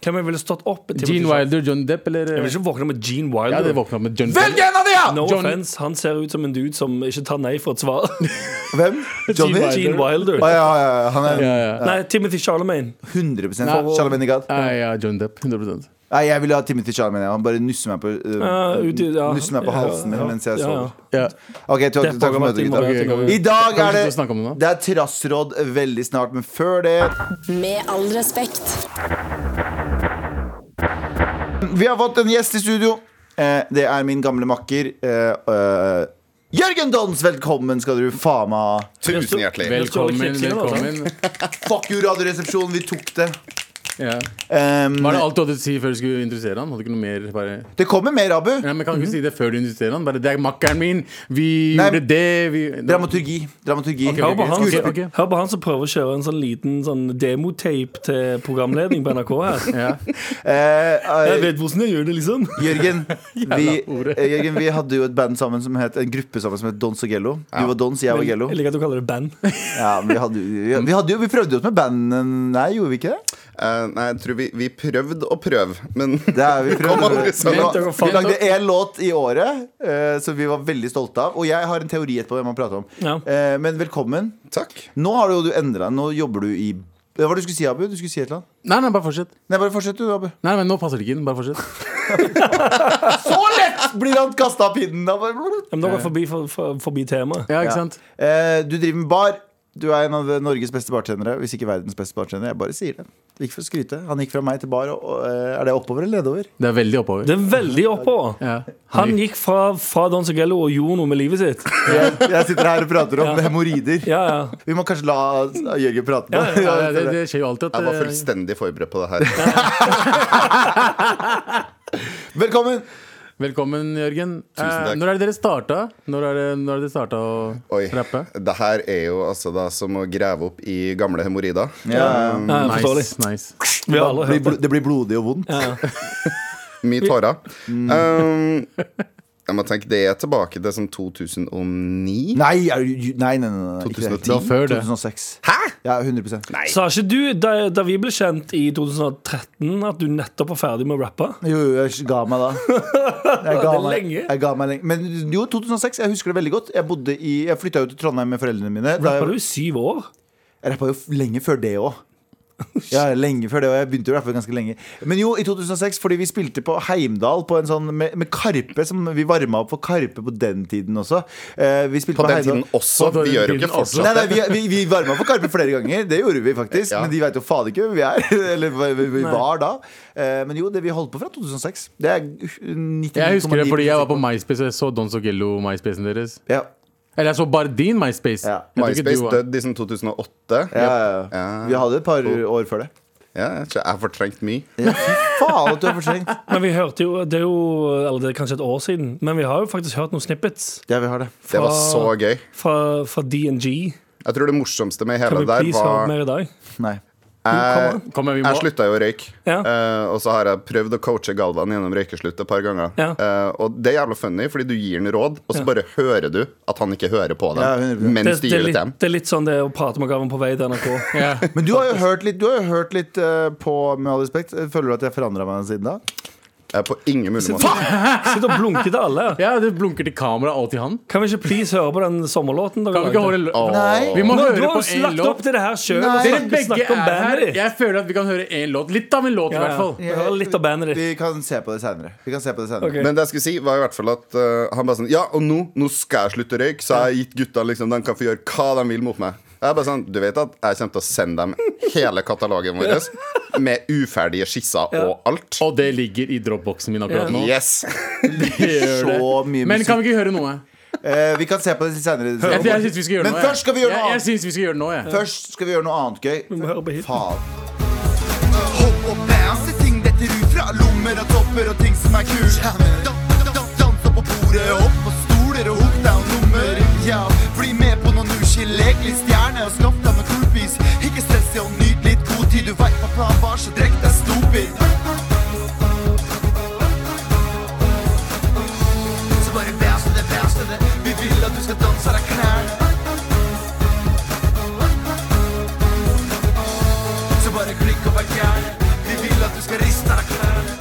Speaker 2: Hvem jeg ville stått opp til-
Speaker 4: Gene Wilder, Johnny Depp, eller
Speaker 2: Jeg vil ikke våkne med Gene
Speaker 4: Jeg hadde
Speaker 2: Wilder.
Speaker 4: våkna opp med Johnny
Speaker 3: Velg
Speaker 4: Depp.
Speaker 3: en av de, ja!
Speaker 2: No
Speaker 4: John-
Speaker 2: offense, han ser ut som en dude som ikke tar nei for et svar.
Speaker 3: Hvem? Johnny?
Speaker 4: Wilder.
Speaker 2: Gene Wilder.
Speaker 3: Å, ja, ja, ja, han er
Speaker 4: Ja, ja.
Speaker 2: Nei, Timothy Charlemagne.
Speaker 3: 100
Speaker 4: Nei, og-
Speaker 3: Charlemagne i God.
Speaker 4: Nei, ja, Johnny Depp. 100
Speaker 3: Nei, jeg ville ha Timothy Charlemagne. ja. Han bare nusser meg på, uh,
Speaker 2: Ja, ut i- ja.
Speaker 3: nusser meg på
Speaker 2: Ja,
Speaker 3: halsen min
Speaker 2: ja.
Speaker 3: mens jeg
Speaker 2: Ja, ja.
Speaker 3: sover.
Speaker 4: ja.
Speaker 3: Ok, takk,
Speaker 2: Det er
Speaker 3: takk for
Speaker 2: programmet,
Speaker 3: møtet, gutta.
Speaker 4: Ok, ok, ok.
Speaker 3: I dag
Speaker 4: Kan
Speaker 3: er
Speaker 4: vi
Speaker 3: det
Speaker 4: slutte å snakke om det nå?
Speaker 3: Det er trassråd veldig snart, men før det
Speaker 1: Med all respekt.
Speaker 3: Vi har fått en gjest i studio. Eh, det er min gamle makker. Eh, eh, Jørgen Dons, velkommen skal du faen meg ha.
Speaker 5: Tusen hjertelig.
Speaker 4: Velkommen,
Speaker 2: altså.
Speaker 4: velkommen.
Speaker 3: Fuck you, Radioresepsjonen, vi tok det.
Speaker 4: Ja.
Speaker 3: Ehm,
Speaker 4: Var det alt du hadde å si før du skulle introdusere han? Hadde du ikke noe mer bare...
Speaker 3: det kommer mer, Abu.
Speaker 4: Nei, men Kan du ikke si det før du introduserer han? Bare 'Det er makkeren min! Vi
Speaker 3: Nei,
Speaker 4: gjorde det!' Vi...
Speaker 3: Dramaturgi. Dramaturgi.
Speaker 4: Ok,
Speaker 2: Hør
Speaker 4: ok,
Speaker 2: på, han,
Speaker 4: ok,
Speaker 2: som-
Speaker 4: ok.
Speaker 2: hør på han som prøver å kjøre en sånn liten sånn demotape til programledning på NRK her.
Speaker 4: Ja.
Speaker 3: Eh,
Speaker 2: Jeg
Speaker 3: eh,
Speaker 2: vet hvordan jeg gjør det, liksom.
Speaker 3: Jørgen, vi,
Speaker 4: ordet.
Speaker 3: eh, Jørgen, vi hadde jo et band sammen som het, en gruppe sammen som het Dons og Gello. Du var Dons, jeg var Gello.
Speaker 2: Jeg liker at du kaller det band.
Speaker 3: Ja, men vi, hadde, vi, vi, hadde jo, vi prøvde jo oss med band Nei, gjorde vi ikke det?
Speaker 5: Eh, nei, jeg tror vi, vi prøvde og prøv, men
Speaker 3: Det er vi
Speaker 5: Kom
Speaker 3: prøvde.
Speaker 5: an, liksom.
Speaker 3: Vi lagde- Vi lagde
Speaker 4: Nettopp.
Speaker 3: én låt i året eh, som vi var veldig stolte av. Og jeg har en teori etterpå hvem man prater om.
Speaker 2: Ja.
Speaker 3: Eh, men velkommen.
Speaker 5: takk.
Speaker 3: Nå har du jo endra deg. Nå jobber du i Hva var det du skulle si, Abu? Du skulle si et eller annet.
Speaker 4: Nei, nei, bare fortsett.
Speaker 3: Nei, bare fortsett du, Abu.
Speaker 4: Nei, men Nå passer det ikke inn. Bare fortsett.
Speaker 3: Så lett blir han kasta av pinnen! da.
Speaker 2: Men dere er forbi, for, for, forbi temaet.
Speaker 4: Ja,
Speaker 3: Ja.
Speaker 4: ikke sant?
Speaker 3: Eh, du driver med bar. Du er en av Norges beste bartendere, hvis ikke verdens beste bartender. Jeg bare sier det. Det gikk for å skryte. Han gikk fra meg til bar. Og, og, eh, er det oppover eller nedover?
Speaker 4: Det er veldig oppover.
Speaker 2: Det er veldig oppover.
Speaker 4: Ja.
Speaker 2: Han gikk fra, fra Don Sagello og gjorde noe med livet sitt.
Speaker 3: Jeg, jeg sitter her og prater om hemoroider.
Speaker 2: Ja, ja.
Speaker 3: Vi må kanskje la Jørgen prate nå.
Speaker 4: ja, det, det skjer jo alltid
Speaker 5: Jeg var
Speaker 4: at eh,
Speaker 5: fullstendig forberedt på det her.
Speaker 3: Velkommen!
Speaker 4: Velkommen, Jørgen. Eh,
Speaker 5: takk.
Speaker 4: Når er det dere starta? Når er det, når er det dere starta å
Speaker 5: Oi.
Speaker 4: rappe?
Speaker 5: Det her er jo altså da som å grave opp i gamle hemoroider.
Speaker 3: Ja,
Speaker 2: ja Forståelig.
Speaker 4: Nice, nice.
Speaker 2: Vi har alle
Speaker 3: Det blir,
Speaker 2: hørt det.
Speaker 3: bl- det blir blodig og vondt.
Speaker 2: Ja, ja.
Speaker 5: Mye tårer.
Speaker 4: Mm.
Speaker 5: Um, jeg må tenke, det er tilbake til sånn 2009.
Speaker 3: Nei, er, du- nei, nei, nei, nei, ikke det.
Speaker 5: 2010?
Speaker 4: Det var før det.
Speaker 3: 2006. Hæ? Ja, 100
Speaker 2: Sa ikke du, da, da vi ble kjent i 2013, at du nettopp var ferdig med å rappe?
Speaker 3: Jo, jo, jeg ga meg da.
Speaker 2: Det
Speaker 3: Jeg ga
Speaker 2: er
Speaker 3: meg,
Speaker 2: lenge.
Speaker 3: jeg ga meg lenge. Men jo, 2006. Jeg husker det veldig godt. Jeg, bodde i, jeg flytta jo til Trondheim med foreldrene mine. Da
Speaker 2: Rappa
Speaker 3: jeg,
Speaker 2: du i syv år?
Speaker 3: jeg rappa jo f- lenge før det òg. Ja, lenge før det, og jeg begynte å rappe ganske lenge. Men jo, i 2006, fordi vi spilte på Heimdal på en sånn, med, med Karpe. Som vi varma opp for Karpe på den tiden også. Eh, vi spilte
Speaker 5: På
Speaker 3: på,
Speaker 5: den
Speaker 3: Heimdal.
Speaker 5: tiden også.
Speaker 4: På den
Speaker 5: Vi gjør jo
Speaker 4: tiden
Speaker 5: ikke
Speaker 4: også.
Speaker 3: Nei,
Speaker 5: fortsatt
Speaker 3: nei, vi, vi, vi varma for Karpe flere ganger. Det gjorde vi faktisk.
Speaker 5: Ja.
Speaker 3: Men de veit jo faen ikke hvem vi er. Eller hva vi, vi var da. Eh, men jo, det vi holdt på fra 2006. Det er 99,9
Speaker 4: Jeg husker det fordi jeg var på MySpace og jeg så Don Sogello MySpacen deres.
Speaker 3: ja.
Speaker 4: Eller jeg så bare din MySpace.
Speaker 3: Ja.
Speaker 4: Jeg tror ikke du
Speaker 5: MySpace
Speaker 4: var-
Speaker 5: døde i sånn 2008.
Speaker 3: Ja, ja, ja.
Speaker 5: Ja.
Speaker 3: Vi hadde et par år før det.
Speaker 5: Ja, jeg har fortrengt mye.
Speaker 3: Ja, fy faen at du er fortrengt.
Speaker 2: Men vi hørte jo, det er jo eller det er kanskje et år siden, men vi har jo faktisk hørt noen snippets
Speaker 3: Ja, vi har det.
Speaker 5: Det var så gøy.
Speaker 2: fra, fra DNG.
Speaker 5: Jeg tror det morsomste med
Speaker 2: Kan
Speaker 5: hele
Speaker 2: vi
Speaker 5: der
Speaker 2: please høre
Speaker 5: var
Speaker 2: mer i dag?
Speaker 3: Nei.
Speaker 5: jeg,
Speaker 4: Kom igjen, vi må
Speaker 5: jeg slutta jo å røyke.
Speaker 2: Ja.
Speaker 5: eh, og så har jeg prøvd å coache Galvan gjennom røykeslutt et par ganger.
Speaker 2: Ja.
Speaker 5: Eh, og det er jævla funny, fordi du gir han råd, og så bare hører du at han ikke hører på dem
Speaker 3: Ja, 100%.
Speaker 2: Det,
Speaker 5: mens du
Speaker 2: det, er
Speaker 5: gir det til
Speaker 2: litt,
Speaker 5: dem.
Speaker 2: det er litt sånn det er å prate med Gaven på vei til NRK.
Speaker 4: ja.
Speaker 3: Men du har jo hørt litt, du har jo hørt litt eh, på Med all respekt. Føler du at jeg forandra meg siden da?
Speaker 5: Eh, på ingen mulig måte.
Speaker 2: Sitt og blunke til alle.
Speaker 4: ja, du blunker til kamera og til han.
Speaker 2: Kan vi ikke please høre på den sommerlåten? dere
Speaker 4: Kan vi ikke
Speaker 2: lagde?
Speaker 4: holde lø-
Speaker 5: Åh.
Speaker 3: Nei.
Speaker 4: Vi må
Speaker 2: Nå, Du har
Speaker 4: høre
Speaker 2: jo
Speaker 4: på én
Speaker 2: slagt opp
Speaker 4: låt.
Speaker 2: til det her sjøl.
Speaker 3: Nei.
Speaker 4: Dere begge
Speaker 2: Snakk om
Speaker 4: er her.
Speaker 2: bandet ditt.
Speaker 4: Jeg føler at vi kan høre én låt. Litt av en låt, i
Speaker 2: Ja,
Speaker 4: hvert fall.
Speaker 2: ja. Vi hører litt av bandet ditt.
Speaker 3: Vi kan se på det seinere. Vi kan se på det senere.
Speaker 2: Ok.
Speaker 5: Men det jeg skulle si, var i hvert fall at eh, han bare sånn Ja, og nå, nå skal jeg slutte å røyke, så jeg har gitt gutta liksom De kan få gjøre hva de vil mot meg. Jeg er bare sånn, Du vet at jeg kommer til å sende dem hele katalogen vår med uferdige skisser og alt?
Speaker 4: Og det ligger i dropboxen min akkurat nå.
Speaker 5: Yes!
Speaker 4: Det gjør det.
Speaker 3: Så mye
Speaker 4: Men kan
Speaker 3: musikk.
Speaker 4: vi ikke høre noe?
Speaker 3: Eh, vi kan se på det seinere.
Speaker 4: Jeg, jeg syns vi skal gjøre
Speaker 3: Men
Speaker 4: noe. jeg.
Speaker 3: først skal vi gjøre noe
Speaker 4: Jeg, jeg
Speaker 3: annet.
Speaker 4: synes vi skal gjøre noe, jeg.
Speaker 3: Først skal vi gjøre noe annet
Speaker 2: må høre på
Speaker 3: gøy.
Speaker 2: hiten.
Speaker 3: Faen.
Speaker 6: Hopp og bounce, ting detter ut fra lommer og topper og ting som er kult. Dan- dan- dan- Danse på bordet, opp på stoler og hook down nummer. Ja, bli med på noen uker, lek litt stjerne og skaff deg noen kulpis. Ikke stress, ja, og nyt litt god tid, du veit hva planen var, så drekk deg stupid. Så bare bounce det, bounce det, vi vil at du skal danse av deg knærne. Så bare klikk og vær gæren. Vi vil at du skal riste av deg klærne.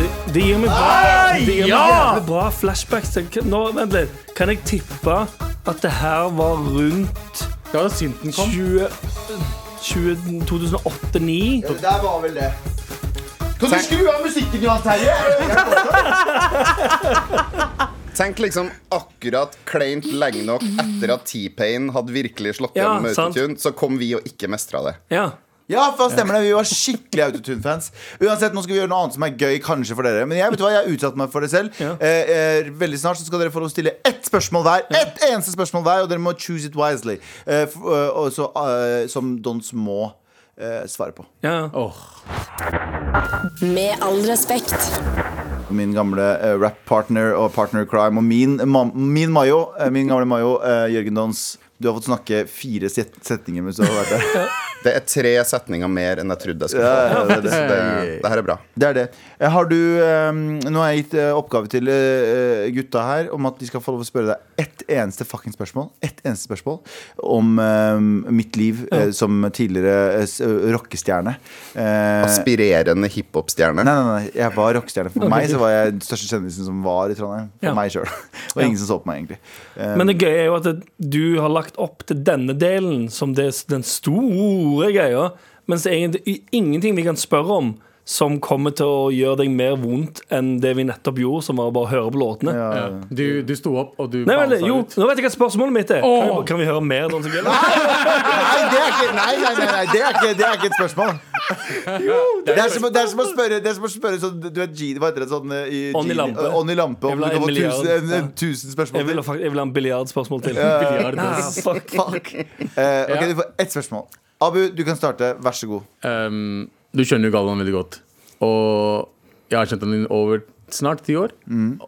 Speaker 2: Det, det gir meg bra,
Speaker 4: Ai,
Speaker 2: det gir meg
Speaker 4: ja!
Speaker 2: jævlig bra flashbacks. til- Kan- Nå, vent litt. Kan jeg tippe at det her var rundt
Speaker 4: Det var da synten kom.
Speaker 2: 20, 20, 2008-2009?
Speaker 3: Det der var vel det. Kan du skru av musikken, Johan Terje?
Speaker 5: Tenk liksom akkurat kleint lenge nok etter at T-Pain hadde virkelig slått
Speaker 2: Ja,
Speaker 5: gjennom med
Speaker 2: sant.
Speaker 5: autotune, så kom vi og ikke mestra det.
Speaker 2: Ja.
Speaker 3: Ja, faen stemmer det. Vi var skikkelig Autotune-fans. Uansett, nå skal vi gjøre noe annet som er gøy, kanskje for dere. Men jeg vet du hva, jeg har utsatt meg for det selv.
Speaker 2: Ja.
Speaker 3: Eh, eh, veldig snart så skal dere få lov å stille ett spørsmål hver. Ett eneste spørsmål hver, og dere må choose it wisely. Eh, f- eh, og så, eh, som Dons må eh, svare på.
Speaker 2: ja.
Speaker 4: Åh.
Speaker 1: Med all respekt.
Speaker 3: Min gamle eh, rap-partner og partner crime og min, ma- min Mayo, eh, min gamle Mayo, eh, Jørgen Dons. Du har fått snakke fire set setninger mens du har vært der.
Speaker 5: Det er tre setninger mer enn jeg trodde jeg skulle
Speaker 3: Ja,
Speaker 5: få.
Speaker 3: ja, det er det.
Speaker 5: Så det, det her er bra.
Speaker 3: Det er det. Eh, Har du, eh, nå har jeg gitt eh, oppgave til eh, gutta her om at de skal få lov å spørre deg ett eneste fucking spørsmål. Ett eneste spørsmål om eh, mitt liv eh, som tidligere eh, s- rockestjerne. Eh,
Speaker 5: Aspirerende hiphop-stjerne.
Speaker 3: Nei, nei, nei, jeg var rockestjerne. For meg så var jeg den største kjendisen som var i Trondheim. For
Speaker 2: Ja.
Speaker 3: meg sjøl. Og ingen som så på meg, egentlig. Eh,
Speaker 2: Men det gøye er jo at det- du har lagt opp til denne delen som det, den store greia, mens det er egentlig ingenting vi kan spørre om som kommer til å gjøre deg mer vondt enn det vi nettopp gjorde, som var å bare høre på låtene.
Speaker 4: Ja. Du, du sto opp, og du
Speaker 2: Nei, men,
Speaker 4: bounsa
Speaker 2: jo,
Speaker 4: ut.
Speaker 2: nå vet jeg hva spørsmålet mitt er. Kan
Speaker 4: Åh.
Speaker 2: vi, kan vi høre mer Don Sinclair?
Speaker 3: Nei, det er ikke, nei, nei, nei, nei det, er ikke, det er ikke et spørsmål. det, er som, å- det er som å spørre, det er som å spørre sånn, Du vet, Genie, hva heter det sånn eh, i
Speaker 2: Ånd i
Speaker 3: Genie-
Speaker 2: lampe.
Speaker 3: eh, Ånd i lampe.
Speaker 2: Jeg vil
Speaker 3: Om du
Speaker 2: ha
Speaker 3: kan få
Speaker 2: en
Speaker 3: tusen,
Speaker 2: milliard.
Speaker 3: en, en, tusen
Speaker 2: Jeg
Speaker 3: spørsmål
Speaker 2: vil, ha
Speaker 3: til.
Speaker 2: fakt- jeg vil ha en biljardspørsmål til.
Speaker 4: Biljard, altså.
Speaker 2: Ah,
Speaker 4: ass.
Speaker 2: fuck.
Speaker 3: Fuck. Eh, ok,
Speaker 4: Ja.
Speaker 3: du får ett spørsmål. Abu, du kan starte. Vær så god.
Speaker 4: Ehm, du skjønner jo Galvan veldig godt. Og jeg har kjent han i over snart ti år.
Speaker 3: Mm.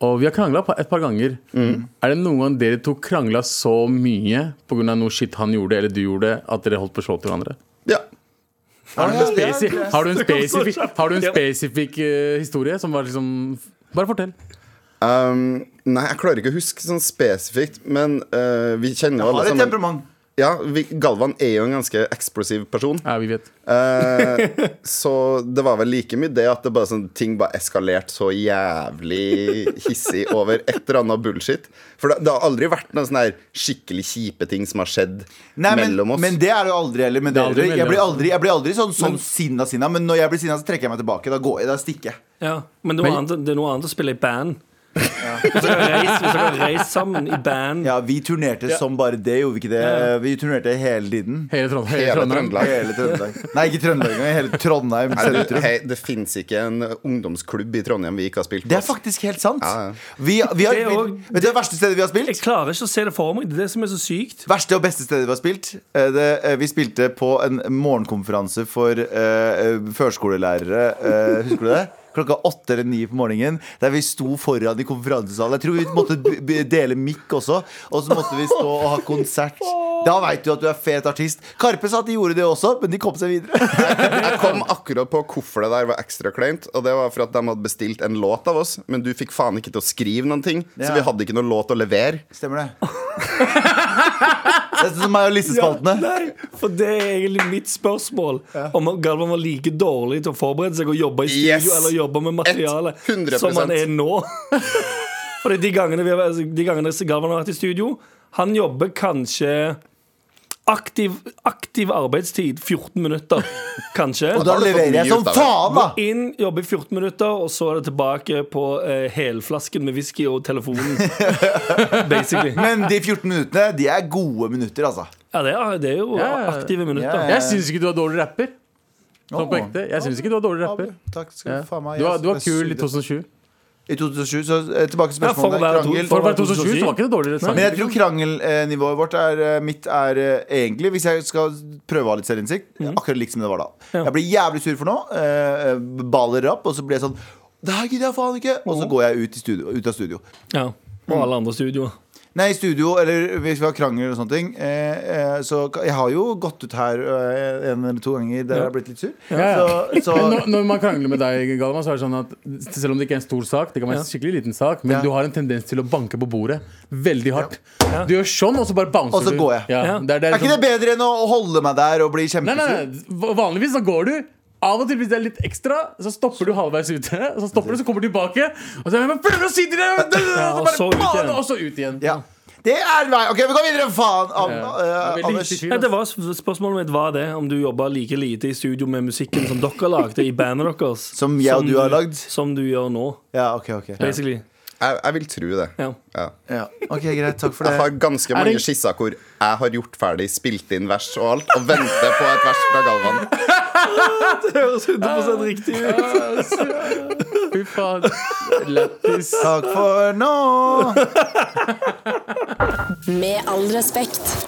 Speaker 4: Og vi har krangla et par ganger. Er det noen gang dere to krangla så mye pga. noe shit han gjorde eller du gjorde, at dere holdt på å slå til hverandre?
Speaker 5: Ja.
Speaker 4: Har du en,
Speaker 3: Ja, ja,
Speaker 4: spesi
Speaker 3: ja.
Speaker 4: har du en spesifikk, har du en
Speaker 2: Ja.
Speaker 4: spesifikk eh, historie som var liksom Bare fortell.
Speaker 5: Um, nei, jeg klarer ikke å huske sånn spesifikt, men eh, vi kjenner jo
Speaker 3: Har
Speaker 5: alle
Speaker 3: et
Speaker 5: sammen
Speaker 3: temperament.
Speaker 5: ja, vi, Galvan er jo en ganske eksplosiv person.
Speaker 4: Ja, vi vet.
Speaker 5: Eh, så det var vel like mye det at det bare sånn, ting bare eskalerte så jævlig hissig over et eller annet bullshit. For det, det har aldri vært noen sånne her skikkelig kjipe ting som har skjedd
Speaker 3: Nei, men,
Speaker 5: mellom oss.
Speaker 3: men det er det jo aldri heller. Men
Speaker 4: Det er aldri
Speaker 3: dere. jeg,
Speaker 4: mellom
Speaker 3: blir
Speaker 4: oss.
Speaker 3: aldri, jeg blir aldri sånn, sånn sinna sinna, men når jeg blir sinna, så trekker jeg meg tilbake. Da går jeg, da stikker jeg.
Speaker 2: Ja, men det er, noe annet, det er noe annet å spille i band. Hvis dere reiser- hvis dere reiser sammen i band
Speaker 3: Ja, vi turnerte som bare det, gjorde vi ikke det?
Speaker 2: Ja, ja.
Speaker 3: Vi turnerte hele tiden.
Speaker 4: Hele Trondheim. Hele
Speaker 5: Hele
Speaker 4: Trondheim.
Speaker 5: Trøndelag.
Speaker 3: Hele Trøndelag. Nei, ikke Trøndelag engang. Hele Trondheim
Speaker 5: Nei, du,
Speaker 3: sentrum.
Speaker 5: hei, det fins ikke en ungdomsklubb i Trondheim vi ikke har spilt på.
Speaker 3: Det er faktisk helt sant.
Speaker 5: Ja, ja.
Speaker 3: Vi, vi har,
Speaker 2: Det er
Speaker 3: vi,
Speaker 2: også-
Speaker 3: vet du det verste stedet vi har
Speaker 2: Jeg
Speaker 3: spilt?
Speaker 2: klarer ikke å se det for meg. Det er det som er så sykt.
Speaker 3: Verste og beste stedet vi har spilt? Eh, Det, eh, vi spilte på en morgenkonferanse for eh, eh, førskolelærere. eh, husker du det? Klokka åtte eller ni på morgenen, der vi sto foran i konferansesalen. Jeg tror vi måtte b- b- dele mikk også, og så måtte vi stå og ha konsert. Da veit du at du er fet artist. Karpe sa at de gjorde det også, men de kom seg videre.
Speaker 5: Jeg kom akkurat på hvorfor det der var ekstra kleint. Og det var for at de hadde bestilt en låt av oss, men du fikk faen ikke til å skrive noen ting.
Speaker 3: Ja.
Speaker 5: Så vi hadde ikke noen låt å levere.
Speaker 3: Stemmer det? Det er sånn som meg og lissespaltene.
Speaker 2: Nei, for det er egentlig mitt spørsmål. Om Galvan var like dårlig til å forberede seg og jobbe i studio
Speaker 5: Yes!
Speaker 2: eller jobbe med materiale
Speaker 5: 100%.
Speaker 2: som han er nå. For de gangene, vi har, vært- de gangene Galvan har vært i studio, han jobber kanskje Aktiv, aktiv arbeidstid 14 minutter, kanskje.
Speaker 3: Og da
Speaker 5: har du fått
Speaker 3: leverer jeg
Speaker 5: mye
Speaker 3: som
Speaker 5: ut av det.
Speaker 3: faen, da!
Speaker 2: Inn, jobbe i 14 minutter, og så er det tilbake på eh, helflasken med whisky og telefonen. Basically.
Speaker 3: Men de 14 minuttene, de er gode minutter, altså.
Speaker 2: Ja, det er, det er jo
Speaker 4: Ja, ja.
Speaker 2: aktive minutter.
Speaker 3: Ja, ja.
Speaker 4: Jeg syns ikke du er dårlig rapper. Sånn på
Speaker 3: Åh.
Speaker 4: ekte. Jeg syns ikke du er dårlig rapper.
Speaker 3: Takk skal
Speaker 4: Ja.
Speaker 3: du faen meg
Speaker 4: Du var, du var
Speaker 3: Jeg synes
Speaker 4: kul i
Speaker 3: det-
Speaker 4: 2007.
Speaker 3: I 2007, så eh, tilbake til
Speaker 2: Ja, for å
Speaker 3: spørsmålet.
Speaker 2: være to-
Speaker 3: krangel.
Speaker 4: For å være 2007 så var ikke det dårligere sang.
Speaker 3: Men jeg tror krangelnivået vårt er eh, mitt er eh, egentlig, hvis jeg skal prøve å ha litt selvinnsikt, akkurat likt som det var da. Jeg blir jævlig sur for noe, eh, baler opp, og så blir jeg sånn Det her gidder jeg faen ikke! Og
Speaker 4: Mm.
Speaker 3: så går jeg ut, i studio, ut av studio.
Speaker 2: Ja, og alle andre studioer.
Speaker 3: Nei, i studio, eller hvis vi har krangel eller sånne ting. Eh, eh, så ka- jeg har jo gått ut her eh, en eller to ganger der jeg har blitt litt sur.
Speaker 4: Ja, ja.
Speaker 3: Så, så
Speaker 4: Men når, når man krangler med deg, Galvan, så er det sånn at selv om det ikke er en stor sak, det kan være en skikkelig liten sak, men
Speaker 3: Ja.
Speaker 4: du har en tendens til å banke på bordet veldig hardt. Du gjør sånn, og så bare bouncer
Speaker 3: Og så
Speaker 4: du.
Speaker 3: går jeg.
Speaker 4: Ja.
Speaker 2: Ja.
Speaker 4: Det er, det
Speaker 3: Er
Speaker 4: er,
Speaker 3: ikke det
Speaker 4: sånn,
Speaker 3: bedre enn å holde meg der og bli
Speaker 4: nei, nei,
Speaker 3: kjempesur?
Speaker 4: nei. Va- Vanligvis så går du. Av og til hvis det er litt ekstra, så stopper du halvveis ute. Så stopper du, så kommer du tilbake. Og så er jeg bare, prøver å si til deg og
Speaker 2: og
Speaker 4: så
Speaker 2: så ut
Speaker 4: bare,
Speaker 2: igjen.
Speaker 4: faen, Og så ut igjen.
Speaker 3: Ja. Det er vei. Ok, vi går videre, faen! An
Speaker 4: Ja.
Speaker 3: eh,
Speaker 4: Det er veldig
Speaker 3: Anders.
Speaker 4: lite fyr,
Speaker 2: Nei,
Speaker 4: ass.
Speaker 2: det var, spørsmålet mitt var det, om du jobba like lite i studio med musikken som dere lagde i bandet deres.
Speaker 3: Som jeg og du har lagd?
Speaker 2: Som du gjør nå,
Speaker 3: Ja, ok, ok.
Speaker 2: basically.
Speaker 5: Jeg, jeg vil tro det.
Speaker 2: Ja.
Speaker 5: Ja.
Speaker 3: Ja. Ok, Greit, takk for
Speaker 5: Jeg
Speaker 2: Eh,
Speaker 3: det.
Speaker 5: har ganske
Speaker 4: Er det-
Speaker 5: mange skisser hvor jeg har gjort ferdig, spilt inn vers og alt, og venter på et vers fra Galvan.
Speaker 2: Det høres 100 riktig ut.
Speaker 4: Fy faen. Lættis.
Speaker 3: Takk for nå.
Speaker 1: Med all respekt.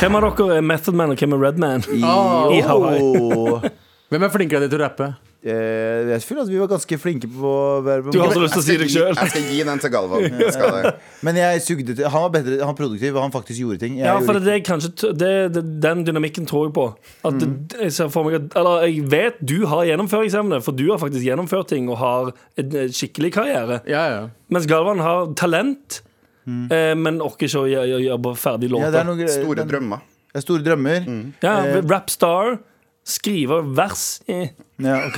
Speaker 2: Hvem av dere er Method Man, og hvem er Red Man?
Speaker 4: Ah.
Speaker 2: I Hawaii.
Speaker 3: Oh.
Speaker 4: Hvem er flinkere til å rappe?
Speaker 3: Eh, Jeg føler at vi var ganske flinke på verbum.
Speaker 2: Du har så lyst til å si
Speaker 5: Jeg
Speaker 2: det
Speaker 5: skal gi-
Speaker 2: sjøl.
Speaker 5: jeg skal gi den til Galvan. Jeg skal det.
Speaker 3: Men jeg sugde til Han var bedre, han var produktiv, og han faktisk gjorde ting. Jeg
Speaker 2: Ja, for
Speaker 3: gjorde
Speaker 2: det, er kanskje, t- det, det, den dynamikken tror jeg på. At det,
Speaker 3: Mhm.
Speaker 2: jeg ser for meg at, eller jeg vet du har gjennomføringsevne, for du har faktisk gjennomført ting og har en eh, skikkelig karriere.
Speaker 4: Ja, ja.
Speaker 2: Mens Galvan har talent,
Speaker 3: Mhm.
Speaker 2: eh, men orker ikke å gjø- gjø- jobbe ferdig
Speaker 3: ikke.
Speaker 2: låter. eh,
Speaker 3: ja, det er noen greier-
Speaker 5: Store
Speaker 3: den-
Speaker 4: Mm.
Speaker 5: drømmer.
Speaker 3: Ja, store drømmer.
Speaker 2: Ja,
Speaker 3: Eh,
Speaker 2: Rapstar Skrive vers eh.
Speaker 3: Ja, ok.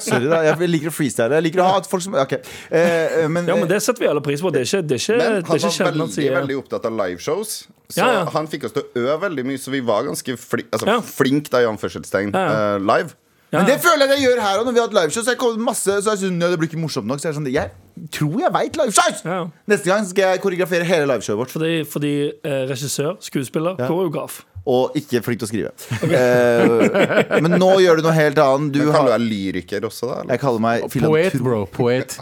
Speaker 3: Sorry, da. Jeg liker å freestyle. Jeg liker å ha at folk som Ok. Eh, eh, men,
Speaker 2: Ja, men det setter vi alle pris på. Det er ikke, det er ikke,
Speaker 5: Men
Speaker 2: det
Speaker 5: han
Speaker 2: er ikke
Speaker 5: var
Speaker 2: sjelden eh, han
Speaker 5: veldig,
Speaker 2: sier
Speaker 5: veldig opptatt av liveshows. Så
Speaker 2: Ja, ja.
Speaker 5: han fikk oss til å øve veldig mye, så vi var ganske fli, altså,
Speaker 2: Ja.
Speaker 5: flink da, i anførselstegn,
Speaker 2: Ja, ja.
Speaker 5: eh, live.
Speaker 3: men det føler jeg at jeg gjør her òg, når vi har hatt liveshow. Så jeg kommer masse Så jeg synes, «Nei, det blir ikke morsomt nok. Så jeg er sånn Jeg tror jeg veit liveshows!
Speaker 2: Ja.
Speaker 3: Neste gang skal jeg koreografere hele liveshowet vårt.
Speaker 2: Fordi, fordi eh, regissør, skuespiller, koreograf.
Speaker 3: Og ikke flink til å skrive. Eh, men nå gjør du noe helt annet. Du
Speaker 5: Men kaller du
Speaker 3: har
Speaker 5: deg lyriker også, da? Eller?
Speaker 3: Jeg kaller meg
Speaker 4: Poet,
Speaker 3: filantrop.
Speaker 4: bro. Poet.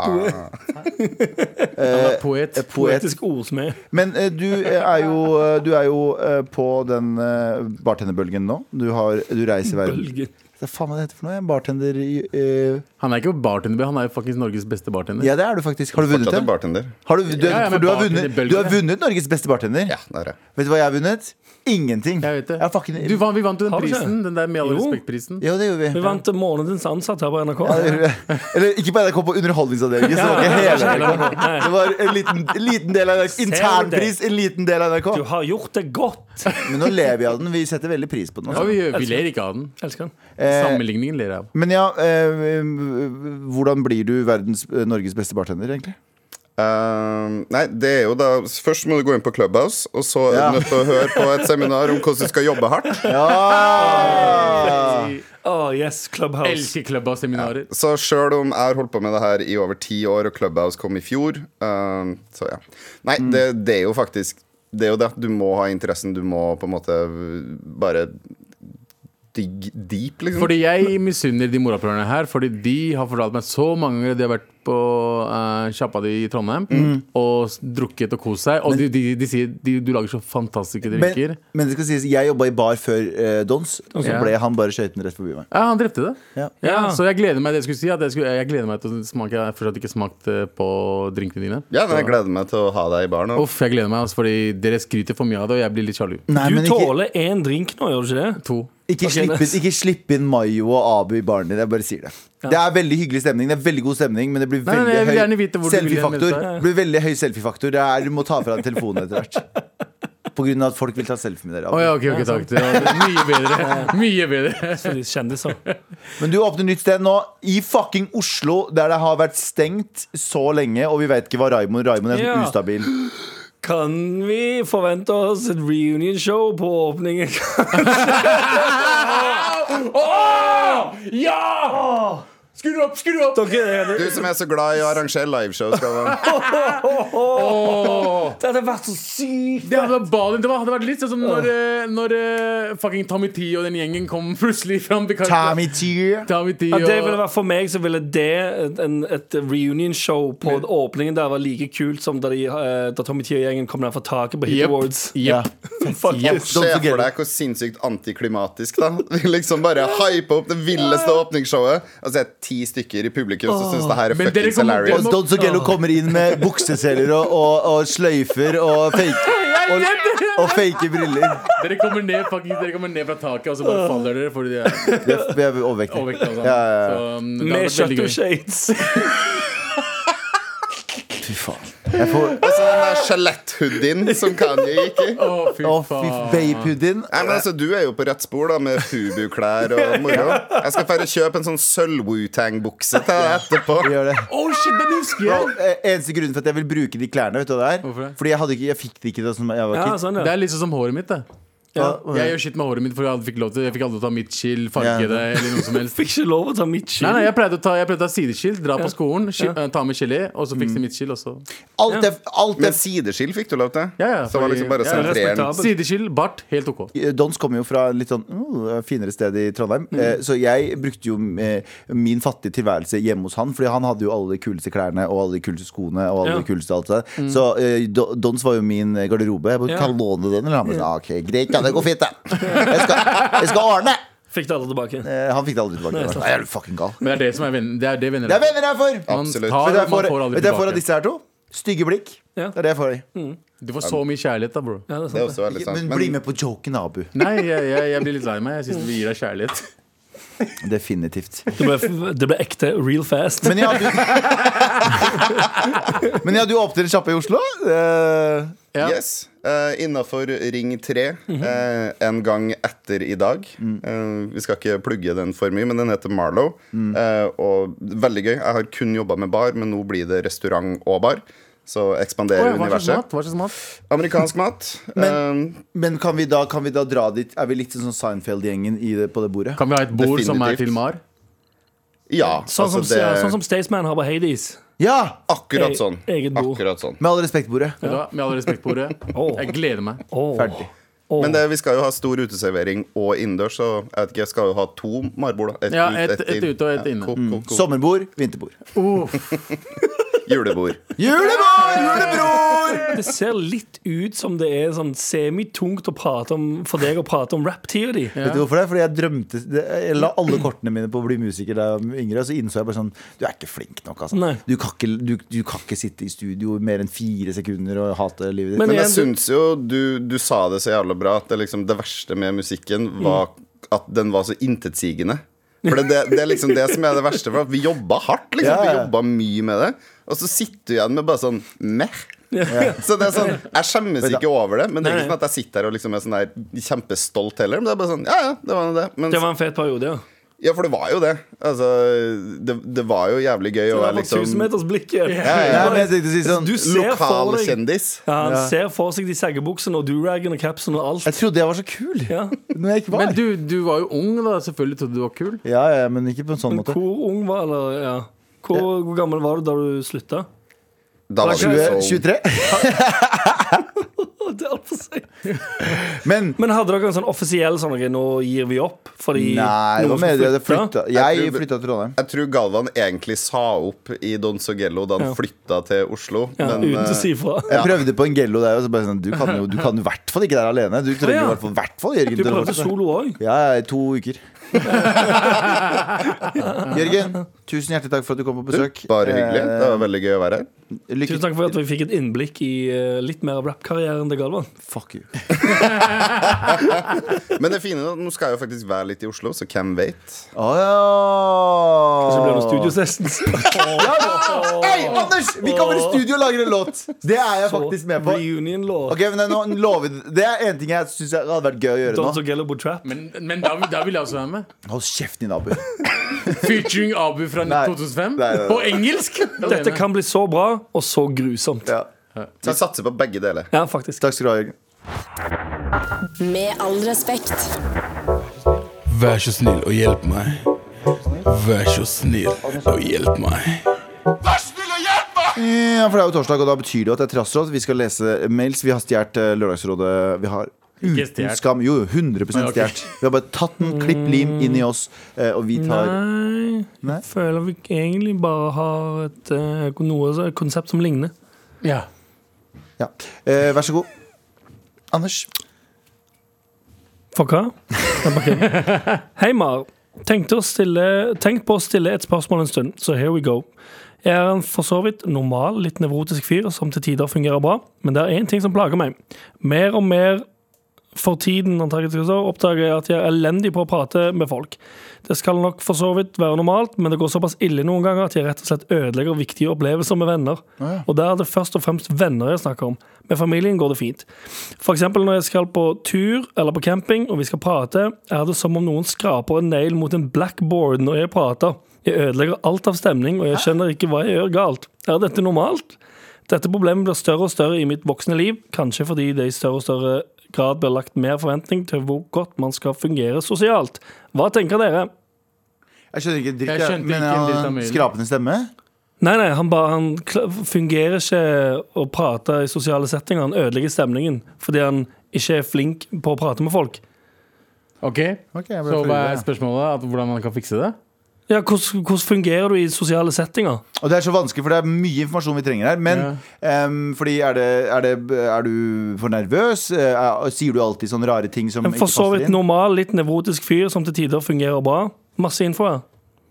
Speaker 4: Han er poet.
Speaker 3: Ah. Eh, Poet.
Speaker 2: Poetisk ordsmed.
Speaker 3: Men eh, du eh, er jo, eh, du er jo eh, på den eh, bartenderbølgen nå. Du, har, du reiser i verden.
Speaker 2: Bølgen.
Speaker 3: Hva faen er det heter for noe? Bartender eh,
Speaker 4: Han er ikke bartender, han er faktisk Norges beste bartender.
Speaker 3: Ja, det er du faktisk. Har du vunnet
Speaker 5: Fortsatt
Speaker 3: det?
Speaker 5: en bartender.
Speaker 3: Har du, du,
Speaker 4: Ja, ja,
Speaker 3: for
Speaker 4: men
Speaker 3: du, har vunnet,
Speaker 4: bartenderbølgen,
Speaker 3: du har
Speaker 4: ja.
Speaker 3: vunnet Norges beste bartender.
Speaker 5: Ja, der er jeg.
Speaker 3: Vet du hva jeg har vunnet? Ingenting.
Speaker 4: Jeg vet det.
Speaker 3: har fucking-
Speaker 4: Du, hva- vi vant jo den
Speaker 2: Har vi ikke?
Speaker 4: prisen. Den der Med all
Speaker 2: Jo.
Speaker 4: respekt-prisen.
Speaker 3: Jo, det gjorde
Speaker 2: Vi
Speaker 3: vi.
Speaker 2: vant Månedens ansatt her på NRK.
Speaker 3: Ja, det gjorde vi. Eller ikke på NRK, på Underholdningsavdelingen. Så det var ikke hele NRK. Det var en liten, liten del av NRK. Internpris, en liten del av NRK.
Speaker 2: Du har gjort det godt!
Speaker 3: Men nå lever jeg av den. Vi setter veldig pris på den.
Speaker 4: Ja,
Speaker 3: altså.
Speaker 4: vi, vi ler ikke av den.
Speaker 2: Elsker han.
Speaker 3: Eh,
Speaker 4: Sammenligningen ler jeg av.
Speaker 3: men ja, eh, hvordan blir du verdens, eh, Norges beste bartender, egentlig?
Speaker 5: Eh, nei, det er jo da Først må du gå inn på Clubhouse, og så er
Speaker 3: Ja.
Speaker 5: du nødt til å høre på et seminar om hvordan du skal jobbe hardt.
Speaker 3: Ja!
Speaker 2: Oh, yes, Clubhouse.
Speaker 4: Elsker klubba og seminarer.
Speaker 5: Så sjøl om jeg har holdt på med det her i over ti år, og Clubhouse kom i fjor eh, Så ja. Nei,
Speaker 4: Mm.
Speaker 5: det, det er jo faktisk Det er jo det. Du må ha interessen. Du må på en måte bare digg deep, liksom.
Speaker 4: Fordi jeg misunner de morapulerne her, fordi de har fortalt meg så mange ganger de har vært på eh, sjappa di i Trondheim
Speaker 3: Mm.
Speaker 4: og s- drukket og kost seg. Og de, de, de sier de, du lager så fantastiske drikker.
Speaker 3: Men, men det skal sies, jeg jobba i bar før eh, Dons, og så
Speaker 4: Ja.
Speaker 3: ble han bare skøytende rett forbi meg.
Speaker 4: ja, han drepte det.
Speaker 3: Ja.
Speaker 2: Ja.
Speaker 4: Så jeg gleder meg det jeg skulle si. At jeg, skulle, jeg gleder meg til å smake Jeg har fortsatt ikke smakt eh, på drinkene dine.
Speaker 5: Ja, nei, jeg gleder meg til å ha deg i baren. og-
Speaker 4: Uff, jeg gleder meg, altså, fordi dere skryter for mye av det, og jeg blir litt sjalu.
Speaker 3: Nei,
Speaker 2: Du
Speaker 3: men ikke,
Speaker 2: tåler én drink nå, gjør du ikke det?
Speaker 4: To.
Speaker 3: ikke,
Speaker 2: Ok,
Speaker 3: slipp,
Speaker 2: nice.
Speaker 3: ikke slipp inn Mayo og Abu i baren din. Jeg bare sier det. Det er veldig hyggelig stemning, det er veldig god stemning, men det blir
Speaker 4: Nei, nei,
Speaker 3: veldig
Speaker 4: jeg vil gjerne
Speaker 3: høy
Speaker 4: vite hvor du vil hen med
Speaker 3: selfiefaktor.
Speaker 4: dette.
Speaker 3: Det blir veldig høy selfiefaktor. Det er- Du må ta fra deg telefonen etter hvert. På grunn av at folk vil ta selfie med dere.
Speaker 4: Å
Speaker 3: Abu.
Speaker 4: ja, sånn. ok, ok, takk. Det var mye bedre. Mye bedre.
Speaker 2: Så de kjendiser.
Speaker 3: Men du åpner nytt sted nå, i fucking Oslo, der det har vært stengt så lenge, og vi vet ikke hva Raimond Raimond er sånn
Speaker 2: Ja.
Speaker 3: ustabil.
Speaker 2: Kan vi forvente oss et reunion-show på åpningen?
Speaker 4: Ja! Skru opp, skru opp!
Speaker 2: Dere,
Speaker 5: Du som er så glad i å arrangere liveshow, skal man
Speaker 2: det hadde vært så sykt!
Speaker 4: Det hadde vært Balin. Det var- hadde vært litt sånn som når, eh, når eh, fucking Tommy T og den gjengen kom plutselig fram. til kanskje-
Speaker 3: Tammy Tier.
Speaker 4: Tommy T
Speaker 2: Ja,
Speaker 4: og
Speaker 2: det ville vært For meg så ville det et, en, et reunion-show på åpningen der var like kult som da, de, eh, da Tommy Tee og gjengen kom ned fra taket på Hit
Speaker 4: Jep,
Speaker 2: Awards.
Speaker 3: Ja.
Speaker 4: jep.
Speaker 2: Faktisk.
Speaker 5: se
Speaker 3: Don't forget
Speaker 5: for
Speaker 3: it.
Speaker 5: deg hvor sinnssykt antiklimatisk, da. Vi Liksom bare hype opp det villeste åpningsshowet, og så er det ti stykker i publikum som syns det her er
Speaker 4: Men dere
Speaker 5: fuckings
Speaker 4: kommer-
Speaker 5: hilarious.
Speaker 3: Og Don Sogello kommer inn med bukseseler og, og, og sløyfer og fake, og, og fake briller.
Speaker 4: Dere kommer ned fucking, dere kommer ned fra taket, og så bare faller dere fordi de er
Speaker 3: Vi er, vi er overvektige.
Speaker 4: overvektige. og sånn.
Speaker 3: Ja, ja, ja.
Speaker 4: Så, um, det hadde
Speaker 2: Med
Speaker 4: vært veldig
Speaker 2: kjøtt og
Speaker 4: gøy.
Speaker 2: shades.
Speaker 3: Fy faen. Jeg får
Speaker 5: Og så den der skjeletthoodien som Kanye gikk i.
Speaker 4: Å,
Speaker 3: Å,
Speaker 4: fy
Speaker 3: fy
Speaker 4: faen.
Speaker 3: babypudding.
Speaker 5: Nei, men altså, Du er jo på rett spor da med Fubu-klær og moro. Jeg skal færre kjøpe en sånn sølv-Wutang-bukse til deg etterpå.
Speaker 3: Vi gjør det.
Speaker 4: Oh shit, den husker jeg!
Speaker 3: Og, eh, eneste grunnen for at jeg vil bruke de klærne, vet du hva det
Speaker 4: Hvorfor
Speaker 3: er?
Speaker 4: det?
Speaker 3: Fordi jeg, hadde ikke, jeg fikk det ikke da som jeg var
Speaker 2: Ja,
Speaker 3: kid.
Speaker 2: sånn,
Speaker 4: Det
Speaker 2: ja.
Speaker 4: er litt sånn som håret mitt. det
Speaker 3: Ja,
Speaker 4: Jeg gjør shit med håret mitt, for jeg aldri fikk lov til Jeg fikk aldri ta midtskill, farge
Speaker 3: Ja.
Speaker 4: det, eller noe som helst.
Speaker 2: Fikk ikke lov å ta mitt
Speaker 4: Nei, nei,
Speaker 2: skyld.
Speaker 4: jeg pleide å ta, jeg pleide å ta sideskill, dra på skolen, ski, eh, ta med gelé, og så fikse mitt skill også.
Speaker 3: Alt jeg, alt
Speaker 5: Men
Speaker 3: jeg
Speaker 5: sideskill fikk du lov til.
Speaker 4: Ja, ja,
Speaker 5: Så var liksom
Speaker 4: fordi-
Speaker 5: bare
Speaker 4: ja,
Speaker 5: sentreren.
Speaker 2: respektabelt.
Speaker 4: Sideskill, bart, helt ok.
Speaker 3: Dons kommer jo fra litt sånn mm, finere sted i Trondheim. Eh, så jeg brukte jo eh, min fattige tilværelse hjemme hos han, fordi han hadde jo alle de kuleste klærne og alle de kuleste skoene. Og alle
Speaker 2: Ja.
Speaker 3: de kuleste alt det. der. Så eh, Do- Dons var jo min eh, garderobe. Jeg bare,
Speaker 2: Ja.
Speaker 3: Kan jeg låne den? Eller han bare sånn, ah, ok, greit, ja, det går fint, det. Jeg skal, jeg skal ordne!
Speaker 2: Fikk det aldri tilbake.
Speaker 3: Eh, han fikk det aldri tilbake. Nei, er du fucking gal?
Speaker 4: Men det er det som er venn, det er det venner
Speaker 3: Det er venner jeg får!
Speaker 5: Ja.
Speaker 4: Man
Speaker 5: Absolutt.
Speaker 4: tar,
Speaker 3: Vet du hva jeg
Speaker 4: man
Speaker 3: får,
Speaker 4: får aldri
Speaker 3: vet du hva jeg får av
Speaker 4: tilbake.
Speaker 3: disse her to? Stygge blikk.
Speaker 2: Ja.
Speaker 3: Det er det jeg får. av dem.
Speaker 4: Du får så mye kjærlighet, da, bro.
Speaker 2: Ja, det er
Speaker 5: Det er
Speaker 2: sant.
Speaker 5: også veldig sant.
Speaker 3: Men bli
Speaker 5: Men
Speaker 3: med på joken, Abu.
Speaker 4: Nei, jeg, jeg, jeg blir litt lei meg. Jeg syns vi gir deg kjærlighet.
Speaker 3: Definitivt.
Speaker 2: Det ble, det ble ekte real fast.
Speaker 3: Men ja, du, men ja, du åpner en sjappe i Oslo? Eh,
Speaker 4: Ja. Mhm.
Speaker 5: yes. Eh, Uh, Innafor Ring 3, eh, en gang etter i dag.
Speaker 3: Mm.
Speaker 5: Eh, vi skal ikke plugge den for mye, men den heter Marlow.
Speaker 3: Mm.
Speaker 5: Eh, og veldig gøy. Jeg har kun jobba med bar, men nå blir det restaurant og bar. Så
Speaker 4: Å,
Speaker 5: ekspanderer
Speaker 4: ja, hva slags
Speaker 5: universet.
Speaker 4: mat? Hva slags mat?
Speaker 5: Amerikansk mat.
Speaker 3: Men-
Speaker 5: eh,
Speaker 3: Men kan vi, da, kan vi da dra dit? Er vi litt sånn Seinfeld-gjengen i det- på det bordet?
Speaker 4: Kan vi ha et bord som er
Speaker 5: Definitivt.
Speaker 4: til Mar?
Speaker 5: ja.
Speaker 2: Sånn,
Speaker 5: altså
Speaker 2: som,
Speaker 5: det-
Speaker 2: sånn som Staysman har på Hades.
Speaker 3: Ja!
Speaker 5: Akkurat
Speaker 2: E-
Speaker 5: sånn.
Speaker 2: eget bord.
Speaker 5: Akkurat sånn.
Speaker 3: Med all respekt, bordet.
Speaker 4: Vet du hva? Med all respekt på ordet,
Speaker 2: Åh.
Speaker 4: jeg gleder meg.
Speaker 2: Åh.
Speaker 3: Ferdig.
Speaker 2: Åh.
Speaker 5: Men det, vi skal jo ha stor uteservering og innendørs, så jeg vet ikke, jeg skal jo ha to marbord. da. Et
Speaker 4: Ja,
Speaker 5: ut,
Speaker 4: et,
Speaker 5: et
Speaker 4: et
Speaker 5: inn.
Speaker 4: ute og et inne.
Speaker 5: Ko- ko-
Speaker 3: Mm.
Speaker 5: ko-
Speaker 3: Sommerbord, vinterbord.
Speaker 5: Julebord.
Speaker 3: Julebord! Julebror!
Speaker 2: Det ser litt ut som det er sånn semitungt å prate om, for deg å prate om rap-tida di.
Speaker 3: Vet du hvorfor det? er? Fordi jeg drømte Jeg la alle kortene mine på å bli musiker da jeg var yngre, og så innså jeg bare sånn Du er ikke flink nok, altså.
Speaker 2: Nei.
Speaker 3: Du kan, ikke, du, du kan ikke sitte i studio i mer enn fire sekunder og hate livet ditt.
Speaker 2: Men
Speaker 5: Men jeg
Speaker 2: igjen, du-
Speaker 5: syns jo du, du sa det så jævla bra at det, liksom, det verste med musikken var at den var så intetsigende. For det, det, det er liksom det som er det verste, for at vi jobba hardt. Liksom.
Speaker 3: Ja, ja.
Speaker 5: Vi jobba mye med det. Og så sitter du igjen med bare sånn meh. Så det er sånn, Jeg skjemmes ikke over det, men det er ikke sånn at jeg sitter her og liksom er sånn der kjempestolt heller. Men det er bare sånn, ja, ja, det var nå det. Men
Speaker 2: Det var en fet periode, ja.
Speaker 5: Ja, for det var jo det. Altså, det, det var jo jævlig gøy
Speaker 2: Det
Speaker 5: å
Speaker 2: var
Speaker 5: være
Speaker 2: på
Speaker 5: liksom
Speaker 2: tusenmetersblikket.
Speaker 3: ja, men jeg tenkte å si sånn
Speaker 2: Du ser for
Speaker 5: lokal
Speaker 2: deg
Speaker 5: kjendis.
Speaker 2: ja, Han ser for seg de saggebuksene og duragen og capsen og alt.
Speaker 3: Jeg trodde jeg var så kul
Speaker 2: Ja.
Speaker 3: når jeg ikke var
Speaker 4: Men du, du var jo ung da, selvfølgelig trodde du var kul.
Speaker 3: Ja, ja, men ikke på en sånn måte.
Speaker 2: Hvor ung var eller, ja. Hvor, hvor gammel var du da du slutta?
Speaker 5: Da var
Speaker 2: Kanskje
Speaker 5: det liksom-
Speaker 3: Tjue-
Speaker 5: så
Speaker 3: 23?
Speaker 2: Å, det er alt for sent.
Speaker 3: Men
Speaker 2: Men hadde dere en sånn offisiell sånn ok, Nå gir vi opp? Fordi
Speaker 3: Nei, det
Speaker 2: noen
Speaker 3: var mer
Speaker 2: skal
Speaker 3: det. Jeg
Speaker 2: flytte?
Speaker 3: flytta. Jeg
Speaker 5: Jeg tror-
Speaker 3: flytta til Trondheim.
Speaker 5: Jeg tror Galvan egentlig sa opp i Don Sogello da han
Speaker 2: Ja.
Speaker 5: flytta til Oslo.
Speaker 2: Ja,
Speaker 5: men, eh,
Speaker 2: uten å si ifra.
Speaker 3: Jeg prøvde på en gello der, og så bare sånn Du kan jo du kan i hvert fall ikke være alene. Du trenger
Speaker 2: Ja, ja.
Speaker 3: i hvert fall, hvert fall Jørgen
Speaker 2: Du
Speaker 3: til å
Speaker 2: prøvde
Speaker 3: fortsette.
Speaker 2: solo òg?
Speaker 3: Ja, ja, i to uker. Jørgen, tusen hjertelig takk for at du kom på besøk.
Speaker 5: bare hyggelig.
Speaker 3: Eh,
Speaker 5: Det var veldig gøy å være her.
Speaker 3: Lykke
Speaker 2: Tusen takk for at vi fikk et innblikk i eh, litt mer av rappkarrieren til Galvan.
Speaker 3: Fuck you.
Speaker 5: Men det fine er at nå skal jeg jo faktisk være litt i Oslo, så hvem vet?
Speaker 3: Å ja.
Speaker 2: Så ble det Studio Sessions.
Speaker 3: Ja, da. Hei, Anders! Vi kommer i studio og lager en låt. Det er jeg faktisk med på.
Speaker 2: Reunion-låt.
Speaker 3: Ok, men nå lover vi- Det er en ting jeg syns hadde vært gøy å gjøre
Speaker 2: Don
Speaker 3: nå.
Speaker 2: Sogello på trap.
Speaker 4: Men, men da, da vil jeg også være med.
Speaker 3: Hold kjeften din, Abu.
Speaker 4: Featuring Abu fra
Speaker 3: Nei. Nei,
Speaker 4: 2005.
Speaker 3: nei, nei.
Speaker 4: På engelsk!
Speaker 2: Dette kan bli så bra og så grusomt.
Speaker 3: Ja.
Speaker 5: Vi satser på begge deler.
Speaker 2: Ja, faktisk.
Speaker 3: Takk skal du ha, Jørgen.
Speaker 1: Med all respekt.
Speaker 7: Vær så snill og hjelp meg. Vær så snill og hjelp meg.
Speaker 3: Ja, for det er jo torsdag, og da betyr det jo at det er trassråd. Vi skal lese mails. Vi har stjålet eh, Lørdagsrådet. Vi har
Speaker 4: Ikke
Speaker 3: uten
Speaker 4: stjert.
Speaker 3: skam Jo, jo, 100
Speaker 4: Nei, ok.
Speaker 3: stjålet. Vi har bare tatt den, klipp lim inn i oss, eh, og vi tar
Speaker 2: Nei,
Speaker 3: Nei?
Speaker 2: jeg føler vi egentlig bare har et eh, noe, et konsept som ligner.
Speaker 4: Ja.
Speaker 3: Ja. Eh, Vær så god. Anders.
Speaker 2: For hva? Jeg bare kødder. Hei, Mar. Tenkte å stille, tenk på å stille et spørsmål en stund, så here we go. Jeg er en for så vidt normal, litt nevrotisk fyr som til tider fungerer bra, men det er én ting som plager meg. Mer og mer for tiden antageligvis også, oppdager jeg at jeg er elendig på å prate med folk. Det skal nok for så vidt være normalt, men det går såpass ille noen ganger at jeg rett og slett ødelegger viktige opplevelser med venner. Og der er det først og fremst venner jeg snakker om. Med familien går det fint. F.eks. når jeg skal på tur eller på camping og vi skal prate, er det som om noen skraper en negl mot en blackboard når jeg prater. Jeg ødelegger alt av stemning, og jeg skjønner ikke hva jeg gjør galt. Er dette normalt? Dette problemet blir større og større i mitt voksne liv, kanskje fordi det i større og større grad blir lagt mer forventning til hvor godt man skal fungere sosialt. Hva tenker dere?
Speaker 3: Jeg skjønner ikke en dritt,
Speaker 4: Jeg
Speaker 3: jeg,
Speaker 4: skjønte
Speaker 3: men
Speaker 4: ikke en dritt av
Speaker 3: han
Speaker 4: mailen.
Speaker 3: skrapende stemme.
Speaker 2: Nei, nei, han, bare, han kl- fungerer ikke å prate i sosiale settinger. Han ødelegger stemningen fordi han ikke er flink på å prate med folk.
Speaker 4: Ok,
Speaker 3: Ok, jeg ble
Speaker 4: Så hva er
Speaker 3: forvirret.
Speaker 4: spørsmålet? At hvordan man kan fikse det?
Speaker 2: Ja, Hvordan hvordan fungerer du i sosiale settinger?
Speaker 3: Og det er så vanskelig, for det er mye informasjon vi trenger her. Men em, fordi er, det, er, det, er du for nervøs? Eh, er, sier du alltid sånne rare ting som
Speaker 2: En
Speaker 3: ikke
Speaker 2: for så
Speaker 3: passer
Speaker 2: vidt
Speaker 3: inn?
Speaker 2: normal, litt nevrotisk fyr som til tider fungerer bra. Masse info her.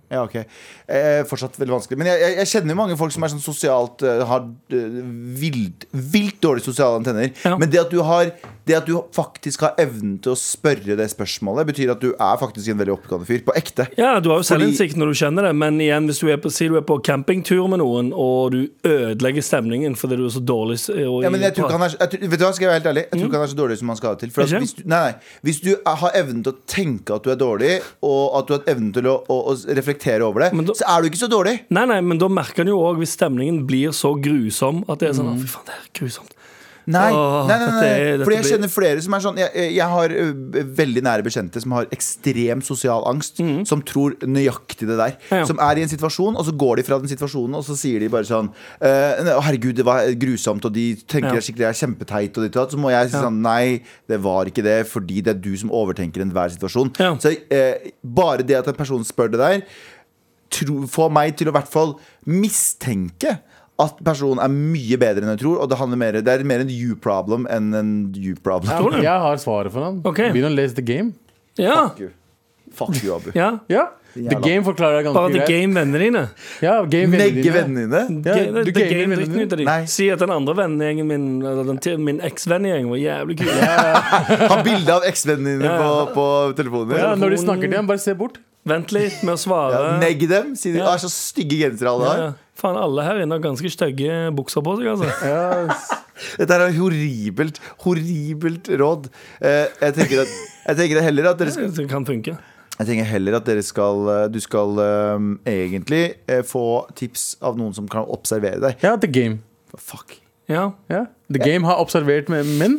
Speaker 3: Ja, ok eh, Fortsatt veldig vanskelig. Men jeg, jeg, jeg kjenner jo mange folk som er sånn sosialt eh, har eh, vilt, vilt dårlige sosiale antenner.
Speaker 2: Ja.
Speaker 3: Men det at du har Det at du faktisk har evnen til å spørre det spørsmålet, betyr at du er faktisk en veldig oppegående fyr. På ekte.
Speaker 2: Ja, du har jo
Speaker 3: Fordi-
Speaker 2: selvinnsikt når du kjenner det, men igjen, hvis du er på, si du er på campingtur med noen, og du ødelegger stemningen fordi du er så dårlig s- og
Speaker 3: Ja, men jeg
Speaker 2: i- Mm.
Speaker 3: tror ikke han er, jeg, tror- vet du hva, skal jeg være helt ærlig Jeg tror ikke han er så dårlig som han skal ha det til. For at
Speaker 2: Ikke?
Speaker 3: hvis, du, nei, nei, hvis du er- har evnen til å tenke at du er dårlig, og at du har evnen til å, å, å reflektere over det,
Speaker 2: Men da-
Speaker 3: så er du ikke så dårlig.
Speaker 2: Nei, nei, men da merker han jo òg hvis stemningen blir så grusom at det er sånn «Å, Fy faen, det er grusomt.
Speaker 3: Nei,
Speaker 2: Åh,
Speaker 3: nei, nei, nei.
Speaker 2: dette er- dette
Speaker 3: Fordi jeg
Speaker 2: blir-
Speaker 3: kjenner flere som er sånn Jeg, jeg- jeg har ø, veldig nære bekjente som har ekstrem sosial angst, som tror nøyaktig det der.
Speaker 2: Mhm. Ja, ja.
Speaker 3: Som er i en situasjon, og så går de fra den situasjonen, og så sier de bare sånn eh, nei, 'Å, herregud, det var grusomt', og de tenker
Speaker 2: Ja.
Speaker 3: jeg skikkelig jeg er kjempeteit, og ditt og datt. Så må jeg si sånn Nei, det var ikke det, fordi det er du som overtenker enhver situasjon.
Speaker 2: Ja.
Speaker 3: Så eh, bare det at en person spør det der, tro, få meg til å i hvert fall mistenke at personen er mye bedre enn jeg tror. Og det, handler mer, det er mer en you problem enn en you problem.
Speaker 2: du?
Speaker 4: Jeg har svaret for han.
Speaker 2: Ok.
Speaker 4: Begynn å lese The Game.
Speaker 2: Ja,
Speaker 3: Fuck you. Fuck you, Abu.
Speaker 2: ja.
Speaker 4: Ja, The
Speaker 3: Jævla.
Speaker 4: Game forklarer deg
Speaker 2: Bare
Speaker 4: ganske
Speaker 2: The Game-vennene dine.
Speaker 4: Ja, game
Speaker 3: Negge vennene dine.
Speaker 4: Ja,
Speaker 2: Ga-
Speaker 4: du
Speaker 2: the
Speaker 4: gamer
Speaker 2: game
Speaker 4: vennene
Speaker 2: dritten ut av de.
Speaker 3: Nei.
Speaker 2: Si at den andre vennegjengen min, eller den til min eksvennegjeng, var jævlig kul.
Speaker 3: Ha bilde av eksvennene dine
Speaker 2: Ja, ja.
Speaker 3: på, på telefonen
Speaker 4: Ja,
Speaker 3: din.
Speaker 4: når de snakker til ham, bare se bort.
Speaker 2: Vent litt med å svare.
Speaker 3: Ja, negg dem. Si de
Speaker 2: Ja.
Speaker 3: har så stygge gensere alle
Speaker 2: Ja,
Speaker 3: har.
Speaker 2: ja. Faen, alle her inne har ganske stygge bukser på seg, altså.
Speaker 3: Dette her er horribelt, horribelt råd. Eh, jeg, tenker at, jeg tenker heller at dere skal
Speaker 2: Det kan funke.
Speaker 3: Jeg tenker heller at dere skal, eh, du skal øhm, egentlig eh, få tips av noen som kan observere deg.
Speaker 4: Ja, The Game.
Speaker 3: Fuck.
Speaker 2: Ja.
Speaker 4: Ja. The Game har observert med menn.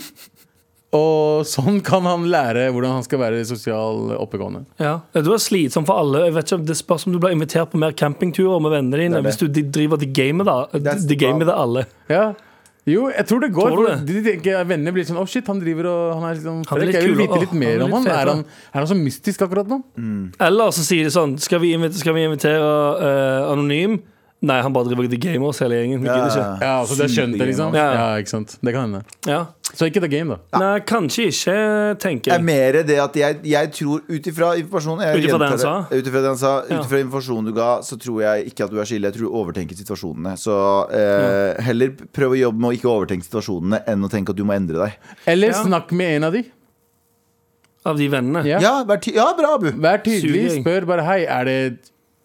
Speaker 4: Og sånn kan han lære hvordan han skal være sosial oppegående.
Speaker 2: Ja. Du er slitsom for alle. Jeg vet ikke, om Det spørs om du blir invitert på mer campingturer med vennene dine
Speaker 3: Det er det.
Speaker 2: hvis du de driver the game med det,
Speaker 3: That's
Speaker 2: the game med
Speaker 3: the
Speaker 2: det alle.
Speaker 4: Ja. Jo, jeg tror det går.
Speaker 2: Tror du
Speaker 4: for
Speaker 2: det?
Speaker 4: De tenker, Vennene blir sånn Å, shit, han driver og Han er, liksom,
Speaker 2: Han er litt
Speaker 4: Jeg vil
Speaker 2: kul,
Speaker 4: vite
Speaker 2: og-
Speaker 4: litt
Speaker 2: å,
Speaker 4: mer
Speaker 2: han er litt
Speaker 4: om han.
Speaker 2: fet,
Speaker 4: Er
Speaker 2: da.
Speaker 4: han, er han så mystisk akkurat nå?
Speaker 2: Eller så sier de sånn Skal vi invitere, skal vi invitere eh, Anonym? Nei, han bare driver the game med oss hele gjengen. Vi gidder ikke.
Speaker 4: Ja, altså, det skjønte jeg, liksom.
Speaker 2: Ja.
Speaker 4: Ja, ikke sant. Det kan hende.
Speaker 2: Ja.
Speaker 4: Så ikke The Game, da.
Speaker 2: Nei, kanskje ikke, tenker
Speaker 3: Det er
Speaker 2: jeg.
Speaker 3: mer det at jeg, jeg tror ut ifra informasjonen jeg
Speaker 2: Ut ifra det
Speaker 3: gjentar
Speaker 2: han sa?
Speaker 3: Ut ifra det han sa,
Speaker 2: Ja.
Speaker 3: ut ifra informasjonen du ga, så tror jeg ikke at du er skyldig. Jeg tror du overtenker situasjonene. Så eh, heller prøv å jobbe med å ikke overtenke situasjonene enn å tenke at du må endre deg.
Speaker 4: Eller
Speaker 2: Ja.
Speaker 4: snakk med en av de.
Speaker 2: Av de vennene.
Speaker 4: Ja.
Speaker 3: Ja, vær ty ja bra, Abu.
Speaker 4: Vær tydelig.
Speaker 2: Suging.
Speaker 4: Spør bare Hei, er det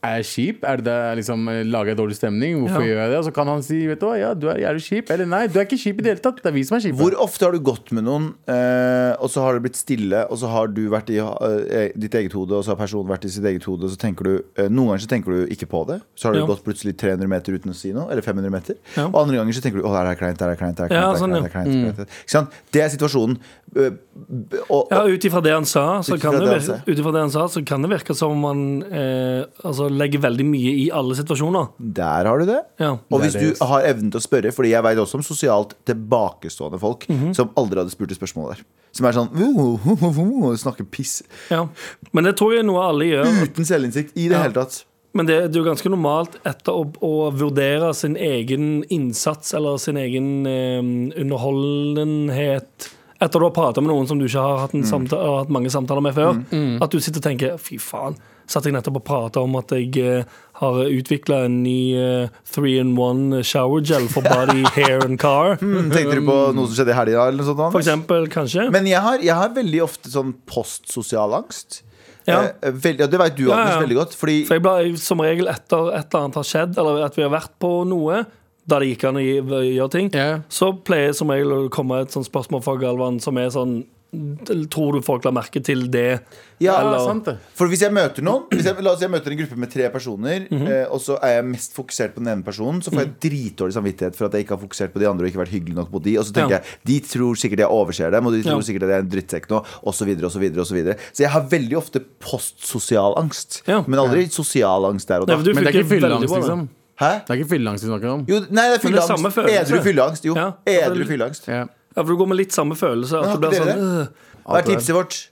Speaker 4: er jeg kjip? Er det der, liksom, eh, Lager jeg dårlig stemning? Hvorfor
Speaker 2: Ja.
Speaker 4: gjør jeg det? Og så kan han si Vet du hva, ja, du er, er du kjip? Eller nei, du er ikke kjip i det hele tatt. Det er vi som er kjipe.
Speaker 3: Hvor ofte har du gått med noen, eh, og så har det blitt stille, og så har du vært i eh, ditt eget hode, og så har personen vært i sitt eget hode, og så tenker du eh, Noen ganger så tenker du ikke på det, så har du
Speaker 2: Ja.
Speaker 3: gått plutselig 300 meter uten å si noe, eller 500 meter,
Speaker 2: Ja.
Speaker 3: og andre ganger så tenker du Å, der er det kleint, der er det kleint, der er det
Speaker 2: Ja,
Speaker 3: kleint, der er det
Speaker 2: sånn,
Speaker 3: kleint, der er det kleint, der er det kleint. Ikke sant? Det er situasjonen. Eh, b- og,
Speaker 2: Ja, Ut ifra det han sa, så
Speaker 3: Ut
Speaker 2: kan det
Speaker 3: ifra det han
Speaker 2: virke,
Speaker 3: sa.
Speaker 2: ut ifra det han sa, så kan det virke som om han eh, altså, legger veldig mye i alle situasjoner.
Speaker 3: Der har du det.
Speaker 2: Ja.
Speaker 3: Og
Speaker 4: Det er
Speaker 3: hvis
Speaker 4: det,
Speaker 3: du har evnen til å spørre, Fordi jeg vet også om sosialt tilbakestående folk
Speaker 2: Mhm.
Speaker 3: som aldri hadde spurt et spørsmål der. Som er sånn «Wo, wo, wo, wo», og Snakker piss.
Speaker 2: Ja. Men det tror jeg er noe alle gjør.
Speaker 3: Uten selvinnsikt i det
Speaker 2: Ja.
Speaker 3: hele tatt.
Speaker 2: Men det, det er jo ganske normalt etter å, å vurdere sin egen innsats eller sin egen eh, underholdenhet etter du har prata med noen som du ikke har hatt,
Speaker 3: Mm.
Speaker 2: en samta- har hatt mange samtaler med før. At du sitter og tenker 'fy faen', satt jeg nettopp og prata om at jeg eh, har utvikla en ny eh, three in one shower gel for body, hair and car.
Speaker 3: Mm, Tenkte du på noe som skjedde i helga? eller noe sånt, Anders?
Speaker 2: Um, For eksempel, kanskje.
Speaker 3: Men jeg har, jeg har veldig ofte sånn postsosial angst.
Speaker 2: Ja.
Speaker 3: Eh, veldig- ja, det veit du,
Speaker 2: Ja,
Speaker 3: Anders,
Speaker 2: ja.
Speaker 3: veldig godt. Fordi
Speaker 2: For jeg blir som regel etter et eller annet har skjedd, eller at vi har vært på noe, da det gikk an å gi- gjøre ting,
Speaker 4: Ja.
Speaker 2: så pleier jeg som regel å komme et sånt spørsmål fra Galvan som er sånn Tror du folk la merke til det?
Speaker 3: ja,
Speaker 4: Ja,
Speaker 2: Eller-
Speaker 4: sant det.
Speaker 3: For hvis jeg møter noen hvis jeg, La oss si jeg møter en gruppe med tre personer,
Speaker 2: Mhm.
Speaker 3: eh, og så er jeg mest fokusert på den ene personen, så får jeg dritdårlig samvittighet for at jeg ikke har fokusert på de andre og ikke vært hyggelig nok mot de. Og så tenker
Speaker 2: Ja.
Speaker 3: jeg de tror sikkert jeg overser dem, og de
Speaker 2: Ja.
Speaker 3: tror sikkert at jeg er en drittsekk nå, og Så, videre, og så, videre, og så, videre. så jeg har veldig ofte postsosial angst,
Speaker 2: Ja.
Speaker 3: men aldri sosial angst der og
Speaker 2: Nei,
Speaker 3: da.
Speaker 2: for du
Speaker 4: Men det er
Speaker 2: fikk jo
Speaker 4: ikke
Speaker 2: veldig bra,
Speaker 4: fylleangst,
Speaker 2: da.
Speaker 4: liksom.
Speaker 3: Hæ?
Speaker 4: Det er ikke fylleangst vi snakker om.
Speaker 3: Jo, nei, det er
Speaker 2: Men det er
Speaker 3: fylleangst.
Speaker 2: samme følelse.
Speaker 3: Edru fylleangst. Jo,
Speaker 2: Ja.
Speaker 3: edru fylleangst.
Speaker 4: Ja.
Speaker 2: Ja, for du går med litt samme følelse. At det blir
Speaker 3: Men har ikke
Speaker 2: sånn,
Speaker 3: dere
Speaker 2: øh,
Speaker 3: Hva er tipset vårt?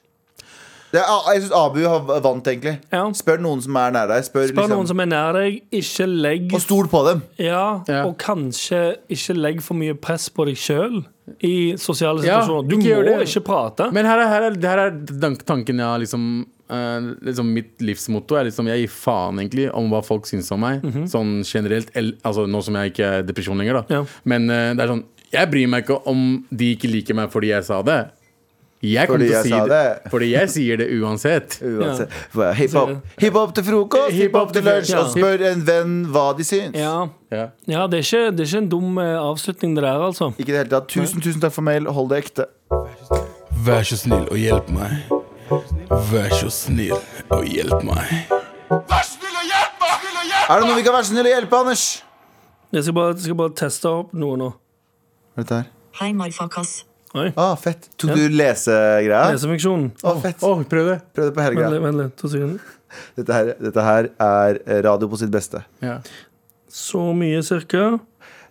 Speaker 3: Det er, jeg syns Abu har vant, egentlig.
Speaker 2: Ja.
Speaker 3: Spør noen som er nær deg. Spør,
Speaker 2: Spør
Speaker 3: liksom,
Speaker 2: noen som er nær deg. Ikke legg
Speaker 3: Og stol på dem.
Speaker 2: ja,
Speaker 4: Ja.
Speaker 2: Og kanskje ikke legg for mye press på deg sjøl i sosiale
Speaker 4: Ja,
Speaker 2: situasjoner. Du
Speaker 4: ikke gjør
Speaker 2: må
Speaker 4: det.
Speaker 2: ikke prate.
Speaker 4: Men her er, her er, her er tank- tanken jeg har liksom, eh, liksom Mitt livsmotto er liksom Jeg gir faen egentlig om hva folk syns om meg. Sånn generelt el, Altså Nå som jeg ikke er i depresjon lenger, da.
Speaker 2: Mhm. Ja.
Speaker 4: Men eh, det er sånn Jeg bryr meg ikke om de ikke liker meg fordi jeg sa det. Jeg kommer
Speaker 3: Fordi
Speaker 4: til å
Speaker 3: jeg
Speaker 4: si
Speaker 3: sa
Speaker 4: det.
Speaker 3: det.
Speaker 4: Fordi jeg sier det uansett.
Speaker 3: Uansett.
Speaker 2: Ja.
Speaker 3: Hva er Hiphop Hiphop til frokost, hiphop til lunsj,
Speaker 2: Ja.
Speaker 3: og spør en venn hva de syns.
Speaker 2: Ja,
Speaker 4: Ja.
Speaker 2: ja det, er ikke, det er ikke en dum eh, avslutning, det der, altså.
Speaker 3: Ikke i det hele tatt. Tusen, tusen takk for mail. Hold det ekte.
Speaker 7: Vær så snill og hjelp meg. Vær så snill og hjelp meg.
Speaker 3: Er det noe vi kan være så snill å hjelpe, Anders?
Speaker 2: Jeg skal bare, skal bare teste opp noe nå.
Speaker 3: Hva er dette her?
Speaker 8: Hei, motherfuckers.
Speaker 3: Ah, fett. Tok du lesegreia?
Speaker 2: Lesefunksjonen.
Speaker 3: Å, fett.
Speaker 4: Å, prøv det.
Speaker 3: Prøv det på hele
Speaker 2: Vent
Speaker 3: greia.
Speaker 2: litt, vent litt, to sekunder.
Speaker 3: Dette her, dette her er eh, radio på sitt beste.
Speaker 4: Ja.
Speaker 2: Så mye, cirka.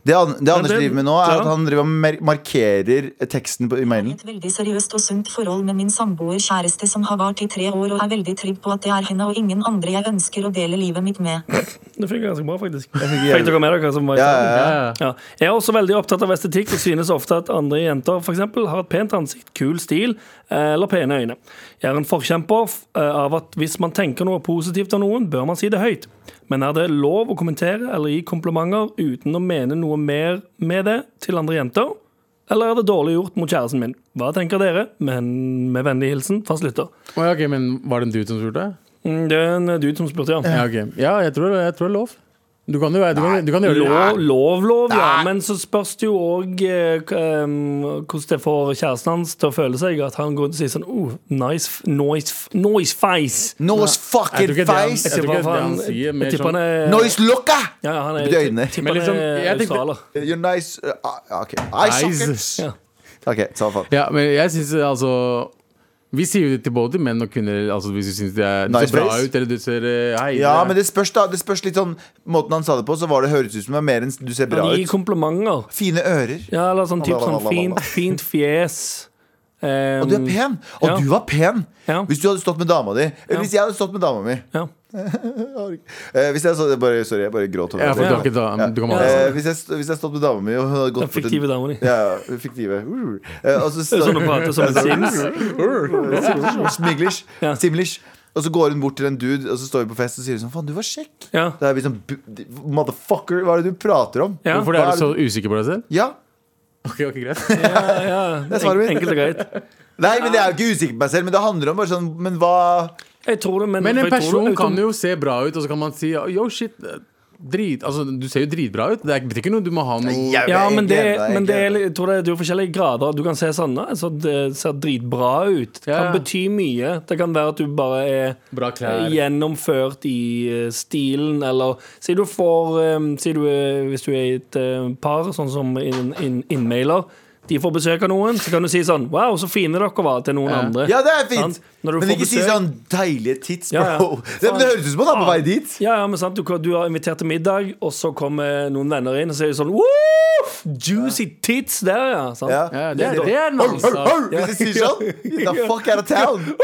Speaker 3: Det, An det Anders
Speaker 2: det-
Speaker 3: driver med nå, er
Speaker 2: ja.
Speaker 3: at han driver og mer markerer eh, teksten på, i mailen.
Speaker 8: Et veldig seriøst og sunt forhold med min samboer kjæreste som har vart i tre år og er veldig trygg på at det er henne og ingen andre jeg ønsker å dele livet mitt med.
Speaker 2: Det funker ganske bra, faktisk.
Speaker 3: jævlig-
Speaker 2: Fikk dere med dere hva som var i
Speaker 3: Ja,
Speaker 2: starten?
Speaker 3: ja,
Speaker 4: Ja.
Speaker 3: ja.
Speaker 4: ja.
Speaker 2: Ja. Jeg er også veldig opptatt av estetikk og synes ofte at andre jenter for eksempel, har et pent ansikt, kul stil eh, eller pene øyne. Jeg er en forkjemper f- eh, av at hvis man tenker noe positivt om noen, bør man si det høyt. Men er det lov å kommentere eller gi komplimenter uten å mene noe mer med det til andre jenter? Eller er det dårlig gjort mot kjæresten min? Hva tenker dere? Men med vennlig hilsen fast lytter.
Speaker 4: Å, ja, ok, men var det en dude som spurte?
Speaker 2: Mm, Det er en dude som spurte, ja.
Speaker 4: Ja, ok. ja jeg, tror, jeg tror det er lov. Du kan jo være Du kan, du kan gjøre det.
Speaker 2: Lov, lov, lov, ja. Men så spørs det jo òg hvordan det får kjæresten hans til å føle seg. At han går og sier sånn oh, nice, f- noise, f- noise face.
Speaker 3: Noise
Speaker 4: Jeg tror
Speaker 3: fucking
Speaker 4: ikke det er han-
Speaker 3: face!
Speaker 4: jeg tror
Speaker 2: tipper
Speaker 4: ikke det er det han
Speaker 2: han-
Speaker 4: sier,
Speaker 2: jeg
Speaker 4: mer
Speaker 2: tipper han er
Speaker 3: Noise locka!
Speaker 2: ja, ja, han er,
Speaker 3: Betyr øyne.
Speaker 2: tipper
Speaker 4: Men liksom,
Speaker 2: han er
Speaker 4: jeg tenkte-
Speaker 2: australier.
Speaker 3: You're nice uh, ah, OK. Eye
Speaker 4: Eyes.
Speaker 3: sockets. OK, sa faen.
Speaker 4: Ja, men jeg synes altså Vi sier jo det til både menn og kvinner. Altså Hvis du syns det er du
Speaker 3: Nice
Speaker 4: ser bra
Speaker 3: face.
Speaker 4: ut, eller du ser eh, hei,
Speaker 3: Ja,
Speaker 4: det-
Speaker 3: men det spørs, da. Det spørs litt sånn Måten han sa det på, så var det høres ut som det var mer enn du ser bra
Speaker 2: Han gir
Speaker 3: ut.
Speaker 2: komplimenter.
Speaker 3: Fine ører.
Speaker 2: Ja, eller sånn typ sånn
Speaker 3: Lalalala.
Speaker 2: fint, fint fjes.
Speaker 3: Og du er pen! Og
Speaker 2: Ja.
Speaker 3: du var pen!
Speaker 2: Ja.
Speaker 3: Hvis du hadde stått med dama di. Eller
Speaker 2: Ja.
Speaker 3: hvis jeg hadde stått med dama mi.
Speaker 2: Ja.
Speaker 3: Eh, hvis jeg så, bare, sorry, jeg bare gråt. over
Speaker 4: ja, for
Speaker 3: det.
Speaker 4: du har ikke da,
Speaker 3: Ja.
Speaker 4: du kan ha
Speaker 3: Eh, hvis, jeg, st- hvis jeg stått med dama mi og hun hadde gått
Speaker 2: Den fiktive
Speaker 3: bort
Speaker 2: dama di.
Speaker 3: til- Ja, ja, fiktive. Uh. Eh, og så
Speaker 2: Det er
Speaker 3: står-
Speaker 2: sånn å prate som en sims.
Speaker 3: Uh. Smiglish.
Speaker 2: Ja.
Speaker 3: Simlish. Og så går hun bort til en dude, og så står vi på fest og sier sånn Faen, du var kjekk.
Speaker 2: Ja.
Speaker 3: Da er vi sånn "Bu- Motherfucker, hva er det du prater om?
Speaker 2: Ja.
Speaker 4: Hvorfor er
Speaker 3: Hva
Speaker 4: du så usikker på deg selv?
Speaker 3: Ja.
Speaker 4: Ok, ok, greit
Speaker 2: ja,
Speaker 3: Det er svaret mitt.
Speaker 2: Enkelt og greit.
Speaker 3: Nei, men jeg er jo ikke usikker på meg selv, men det handler om bare sånn Men hva
Speaker 2: Jeg tror det, men,
Speaker 4: Men
Speaker 2: for
Speaker 4: en
Speaker 2: jeg tror
Speaker 4: person
Speaker 2: det-
Speaker 4: kan jo se bra ut, og så kan man si yo, shit, eh, drit Altså, du ser jo dritbra ut. Det er- betyr ikke noe du må ha noe
Speaker 3: Jeg-
Speaker 2: Ja,
Speaker 3: jeg
Speaker 2: men, det,
Speaker 3: gleder meg,
Speaker 2: men det,
Speaker 3: jeg gleder
Speaker 2: er,
Speaker 3: meg.
Speaker 2: jeg tror det er det er forskjellige grader. Du kan se sånn «Nei, så det ser dritbra ut. Det
Speaker 4: Ja,
Speaker 2: kan
Speaker 4: ja.
Speaker 2: bety mye. Det kan være at du bare er eh,
Speaker 4: bra klær.
Speaker 2: gjennomført i eh, stilen, eller Si du får eh, si du, er- Hvis du er i et eh, par, sånn som inn- inn- innmailer, de får besøk av noen, så kan du si sånn Wow, så fine dere var til noen andre.
Speaker 3: Ja, det er fint!
Speaker 2: Sant? Når du
Speaker 3: Men
Speaker 2: får
Speaker 3: ikke si
Speaker 2: besøk-
Speaker 3: sånn deilige tits, bro.
Speaker 2: Ja, ja.
Speaker 3: Det, men det høres ut som han er på vei dit.
Speaker 2: Ja, ja, men sant, du, du har invitert til middag, og så kommer noen venner inn, og så er de sånn Woof! Juicy tits der, ja. Sant?
Speaker 3: Ja.
Speaker 4: Ja, det, det er
Speaker 3: Hør,
Speaker 4: nice. altså.
Speaker 3: hør,
Speaker 4: da.
Speaker 3: hør, Hvis jeg sier sånn, the fuck out of town.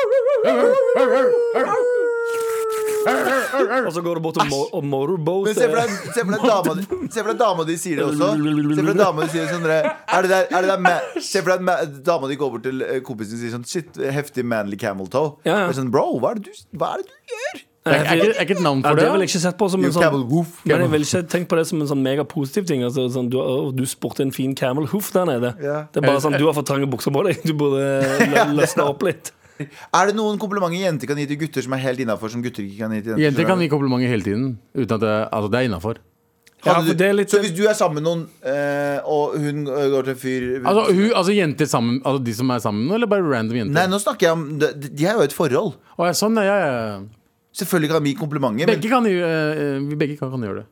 Speaker 2: Og så går du bort og, mo og motorboat.
Speaker 3: Men se for
Speaker 2: eh,
Speaker 3: deg, se for deg dama di Se for deg dama di sier det også. Se for deg dama di sier sånn dere, Er det der, er det der ma- Se for deg ma- dama di går bort til eh, kompisen og sier sånn Shit, heftig manly camel toe.
Speaker 2: Ja, ja.
Speaker 3: Det er Sånn, Bro, hva er det du, hva er det du gjør?
Speaker 4: Det er, er, ikke, er ikke et navn
Speaker 2: Ja,
Speaker 4: for
Speaker 2: det vil
Speaker 4: det?
Speaker 2: jeg ikke sett på som
Speaker 3: You
Speaker 2: en sånn
Speaker 3: camel woof.
Speaker 2: Men jeg vil ikke tenke på det som en sånn megapositiv ting. Altså, sånn, du, å, du spurte en fin camel hoof der nede.
Speaker 3: Ja.
Speaker 2: Det er bare sånn, Du har for trange bukser på deg. Du burde lø- løsne opp litt.
Speaker 3: Er det noen komplimenter jenter kan gi til gutter som er helt innafor, som gutter ikke kan gi til jenter?
Speaker 4: Jenter kan gi komplimenter hele tiden. Uten at det, altså, det er innafor.
Speaker 2: Ja, for det er litt-
Speaker 3: Så hvis du er sammen med noen, eh, og hun eh, går til en fyr
Speaker 4: Altså, hun, altså jenter sammen Altså de som er sammen nå, eller bare random jenter?
Speaker 3: Nei, nå snakker jeg om De, de er jo i et forhold.
Speaker 4: Å, ja, sånn, ja, ja, ja.
Speaker 3: Selvfølgelig kan de gi komplimenter. men-
Speaker 4: Begge kan, jo, eh, vi begge kan, kan gjøre det.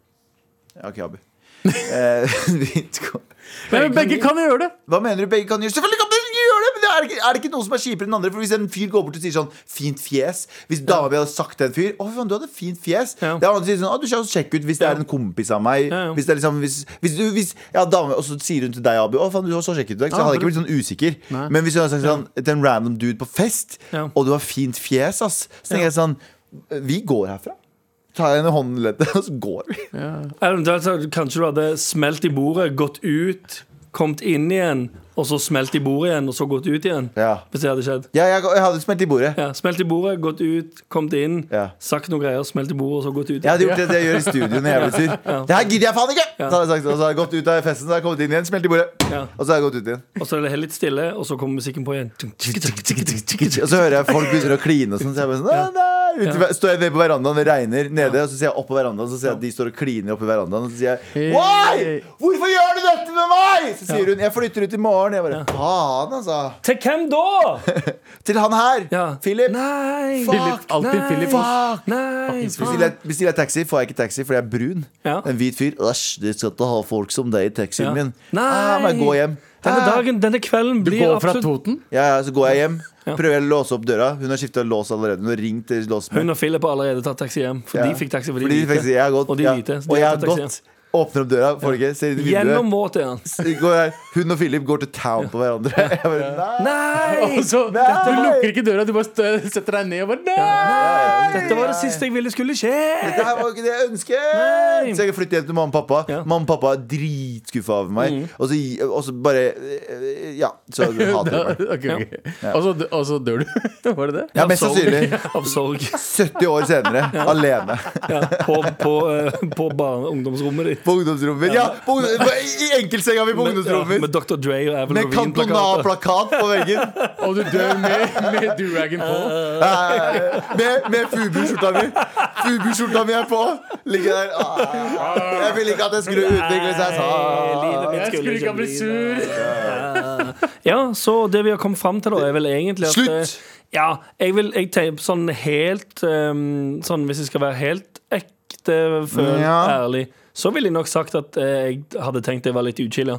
Speaker 3: Ja, OK, Abu. Eh, vi skal-
Speaker 4: Men begge kan jo gjøre det!
Speaker 3: Hva mener du begge kan gjøre? Selvfølgelig kan begge gjøre det! Men det er, ikke, er det ikke noen som er kjipere enn andre? For Hvis en fyr går bort og sier sånn 'fint fjes' Hvis dama mi hadde sagt til en fyr 'Å, fy faen, du hadde fint fjes'
Speaker 2: Ja.
Speaker 3: Det er han som sier sånn 'Å, du ser så kjekk ut' hvis det er en kompis av meg.
Speaker 2: Ja, ja.
Speaker 3: Hvis det er liksom hvis, hvis du, hvis, ja, dame, Og så sier hun til deg, Abu 'Å, faen, du var så kjekk ut i dag', så
Speaker 4: Ja,
Speaker 3: hadde jeg ikke
Speaker 4: for-
Speaker 3: blitt sånn usikker. Men hvis hun hadde sagt sånn til en random dude på fest
Speaker 2: Ja.
Speaker 3: 'Å, du har fint fjes', ass, så tenker jeg sånn Vi går herfra. Tar henne i håndleddet, og så går vi.
Speaker 2: Eventuelt så Kanskje du hadde smelt i bordet, gått ut, kommet inn igjen, og så smelt i bordet igjen, og så gått ut igjen.
Speaker 3: Ja.
Speaker 2: Hvis det hadde skjedd.
Speaker 3: Ja, jeg, jeg hadde smelt i bordet.
Speaker 2: Ja, smelt i bordet, gått ut, kommet inn,
Speaker 3: Ja.
Speaker 2: sagt noen greier, smelt i bordet, og så gått ut
Speaker 3: Jeg
Speaker 2: igjen.
Speaker 3: hadde gjort det, det jeg gjør i studio når jeg blir sur. Det her gidder jeg faen ikke! Så hadde jeg sagt, og så hadde jeg gått ut av festen, så hadde jeg kommet inn igjen, smelt i bordet.
Speaker 2: Ja.
Speaker 3: Og så hadde jeg gått ut igjen.
Speaker 2: Og så er det helt litt stille, og så kommer musikken på igjen.
Speaker 3: Og så hører jeg folk begynner å kline og sånn, så jeg bare sånn «Nei, nei». Ute, Står jeg nede på verandaen, det regner nede, og så ser jeg opp på verandaen, så ser jeg at de står og kliner oppe i verandaen, og så sier jeg Why? Hvorfor gjør du dette med meg? Så sier hun jeg flytter ut i morgen. Jeg bare faen, altså.
Speaker 2: Til hvem da?!
Speaker 3: Til han her.
Speaker 2: Ja.
Speaker 3: Philip.
Speaker 2: Nei!
Speaker 4: Philip, alltid
Speaker 2: Nei.
Speaker 4: Philip.
Speaker 3: Fuck!
Speaker 2: Nei!
Speaker 3: Bestiller jeg, bestiller jeg taxi, får jeg ikke taxi fordi jeg er brun.
Speaker 2: Ja.
Speaker 3: En hvit fyr. Æsj, de skal ikke ha folk som deg i taxien
Speaker 2: Ja.
Speaker 3: min.
Speaker 2: Nei.
Speaker 3: Ah, men gå hjem.
Speaker 2: Denne
Speaker 3: Ah.
Speaker 2: dagen, denne kvelden
Speaker 4: Du
Speaker 2: blir
Speaker 4: går fra
Speaker 2: absolutt
Speaker 4: Toten?
Speaker 3: Ja, ja, så går jeg hjem. Prøver å låse opp døra. Hun har skifta lås allerede. Hun har ringt til låsmenn.
Speaker 2: Hun og Philip har allerede tatt taxi hjem, for
Speaker 3: Ja.
Speaker 2: de fikk taxi fordi,
Speaker 3: Fordi de fikk si, jeg har gått.
Speaker 2: Og de
Speaker 3: ja.
Speaker 2: hvite, så de
Speaker 3: og jeg
Speaker 2: har
Speaker 3: har
Speaker 2: tatt taxi
Speaker 3: gått. Åpner opp døra, får ikke ser inn i
Speaker 2: Gjennom
Speaker 3: vinduet.
Speaker 2: våt igjen.
Speaker 3: Går jeg- Hun og Philip går til town på hverandre. Jeg bare, nei.
Speaker 2: Nei!
Speaker 4: Og så,
Speaker 3: Nei!
Speaker 4: du lukker ikke døra, du bare stø- setter deg ned og bare Nei!
Speaker 2: Dette var det siste jeg ville skulle skje!
Speaker 3: Det her var jo ikke det jeg ønsket!
Speaker 2: Nei.
Speaker 3: Så jeg kan flytte hjem til mamma og pappa.
Speaker 2: Ja. Mm.
Speaker 3: Mamma og pappa er dritskuffa over meg. Og, så, og så bare eh, Ja, så hater de meg.
Speaker 4: Ok, ok. Og, så, dø- og så dør du. Var det det?
Speaker 3: Ja, mest
Speaker 2: Av sorg.
Speaker 3: sannsynlig.
Speaker 2: Av sorg.
Speaker 3: 70 år senere, alene.
Speaker 2: Ja, på på, eh, på barne- ungdomsrommet ditt.
Speaker 3: På ungdomsrommet. Ja, på ungdom, I enkeltsenga mi på
Speaker 2: ja,
Speaker 3: ungdomsrommet.
Speaker 2: med Dr. Dre og Avril
Speaker 3: Med
Speaker 2: Lavigne-plakater.
Speaker 3: Cantona-plakat på veggen.
Speaker 4: Og du dør med, med duragen på.
Speaker 3: Eh, Med, med Fubu-skjorta mi. Fubu-skjorta mi er på. Ligger der. Ah, Jeg ville ikke at det skulle utvikle seg sånn.
Speaker 2: Eh, Livet mitt
Speaker 4: Jeg skulle ikke ha blitt sur.
Speaker 2: Ja, så det vi har kommet fram til, da, er vel egentlig at eh,
Speaker 3: Slutt!
Speaker 2: Ja, jeg vil jeg tenker sånn helt ehm, Sånn hvis jeg skal være helt ekte, føl
Speaker 3: Ja.
Speaker 2: ærlig, så ville jeg nok sagt at eh, jeg hadde tenkt det var litt uchilla.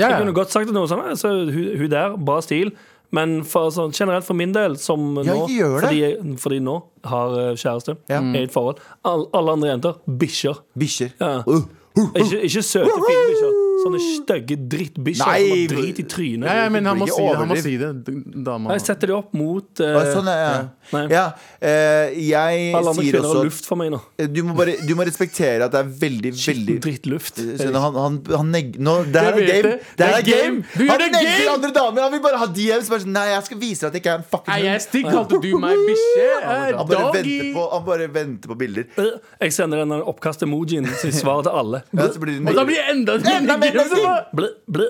Speaker 4: Ja,
Speaker 2: Jeg
Speaker 4: ja.
Speaker 2: kunne godt sagt at noe sånn altså, hun, hun der, bra stil. Men for, sånn, generelt for min del, som nå
Speaker 3: gjør det.
Speaker 2: fordi, jeg, fordi nå har eh, kjæreste,
Speaker 3: Ja.
Speaker 2: er i et forhold. All, alle andre jenter bikkjer.
Speaker 3: Bikkjer.
Speaker 2: Ja.
Speaker 3: Uh, uh.
Speaker 2: Ikke, ikke søte, fine bikkjer. Sånne stygge drittbikkjer som
Speaker 3: Nei,
Speaker 2: har drit i trynet.
Speaker 4: Ja, ja, men han må
Speaker 3: Ikke
Speaker 4: si det. Han må
Speaker 3: overdriv.
Speaker 4: si det. D- Dama.
Speaker 2: Jeg setter de opp mot eh,
Speaker 3: Ah, Sånn, ja. ja.
Speaker 2: Nei.
Speaker 3: ja eh, jeg
Speaker 2: Alle andre
Speaker 3: sier
Speaker 2: kvinner
Speaker 3: også
Speaker 2: har luft for meg nå.
Speaker 3: at du må, bare, du må respektere at det er veldig, veldig sånn
Speaker 2: Drittluft.
Speaker 3: Skjønner, han, han, han neg Nå, det her er
Speaker 4: Jeg vet
Speaker 3: game!
Speaker 4: det.
Speaker 3: Det her er
Speaker 4: Det er
Speaker 3: game.
Speaker 4: game. Du gjør
Speaker 3: Han
Speaker 4: det
Speaker 3: negger
Speaker 4: game.
Speaker 3: andre damer! Han vil bare ha DMs. Bare, sånn, Nei, jeg skal vise deg at jeg ikke er en
Speaker 4: Er
Speaker 3: fucking
Speaker 4: jeg stygg? Kalte du meg bikkje? Eh,
Speaker 3: Han bare, venter
Speaker 4: Doggy?
Speaker 3: på, han bare venter på bilder.
Speaker 2: Øh, Jeg sender den der oppkast-emojien som svar til alle.
Speaker 3: Ja, så blir det
Speaker 4: Og da
Speaker 3: negger.
Speaker 4: blir jeg enda
Speaker 3: Enda mer
Speaker 4: styggere.
Speaker 2: Blø, blø,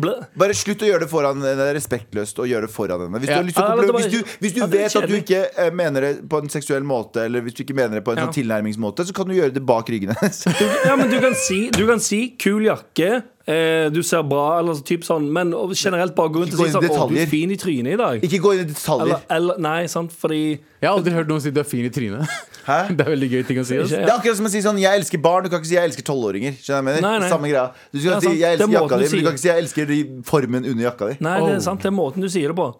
Speaker 2: blø.
Speaker 3: Bare slutt å gjøre det foran henne. Det er respektløst å gjøre det foran henne. Hvis du,
Speaker 4: Ja.
Speaker 3: har lyst til
Speaker 2: Ja,
Speaker 3: å
Speaker 2: det var-
Speaker 3: komple- hvis du, hvis du
Speaker 2: Ja, det er
Speaker 3: vet at du
Speaker 2: kjedelig.
Speaker 3: ikke eh, mener det på en seksuell måte, eller hvis du ikke mener det på en
Speaker 2: Ja.
Speaker 3: sånn tilnærmingsmåte, så kan du gjøre det bak ryggen hennes.
Speaker 2: Ja, men du kan si, du kan si 'kul jakke'. eh, Du ser bra, eller så typ sånn, men og generelt bare gå rundt og si
Speaker 3: Ikke gå inn i
Speaker 2: sånn 'Å, du
Speaker 3: detaljer.
Speaker 2: er fin i trynet i dag'.
Speaker 3: Ikke gå inn i detaljer.
Speaker 2: Eller, eller Nei, sant, fordi
Speaker 4: Jeg har aldri hørt noen si du er fin i trynet.
Speaker 3: Hæ?
Speaker 4: Det er veldig gøy ting å si. ass.
Speaker 3: Det er akkurat som å si sånn 'jeg elsker barn', du kan ikke si 'jeg elsker tolvåringer'. Skjønner du hva jeg mener?
Speaker 2: Nei, nei.
Speaker 3: Samme greia. Du
Speaker 2: Ja,
Speaker 3: skal si
Speaker 2: sant.
Speaker 3: 'jeg
Speaker 2: Det er
Speaker 3: elsker jakka
Speaker 2: måten du
Speaker 3: di', men du
Speaker 2: sier.
Speaker 3: kan ikke si 'jeg elsker de- formen under jakka di'.
Speaker 2: Nei, det
Speaker 4: Oh.
Speaker 2: er sant, det er måten du sier det på.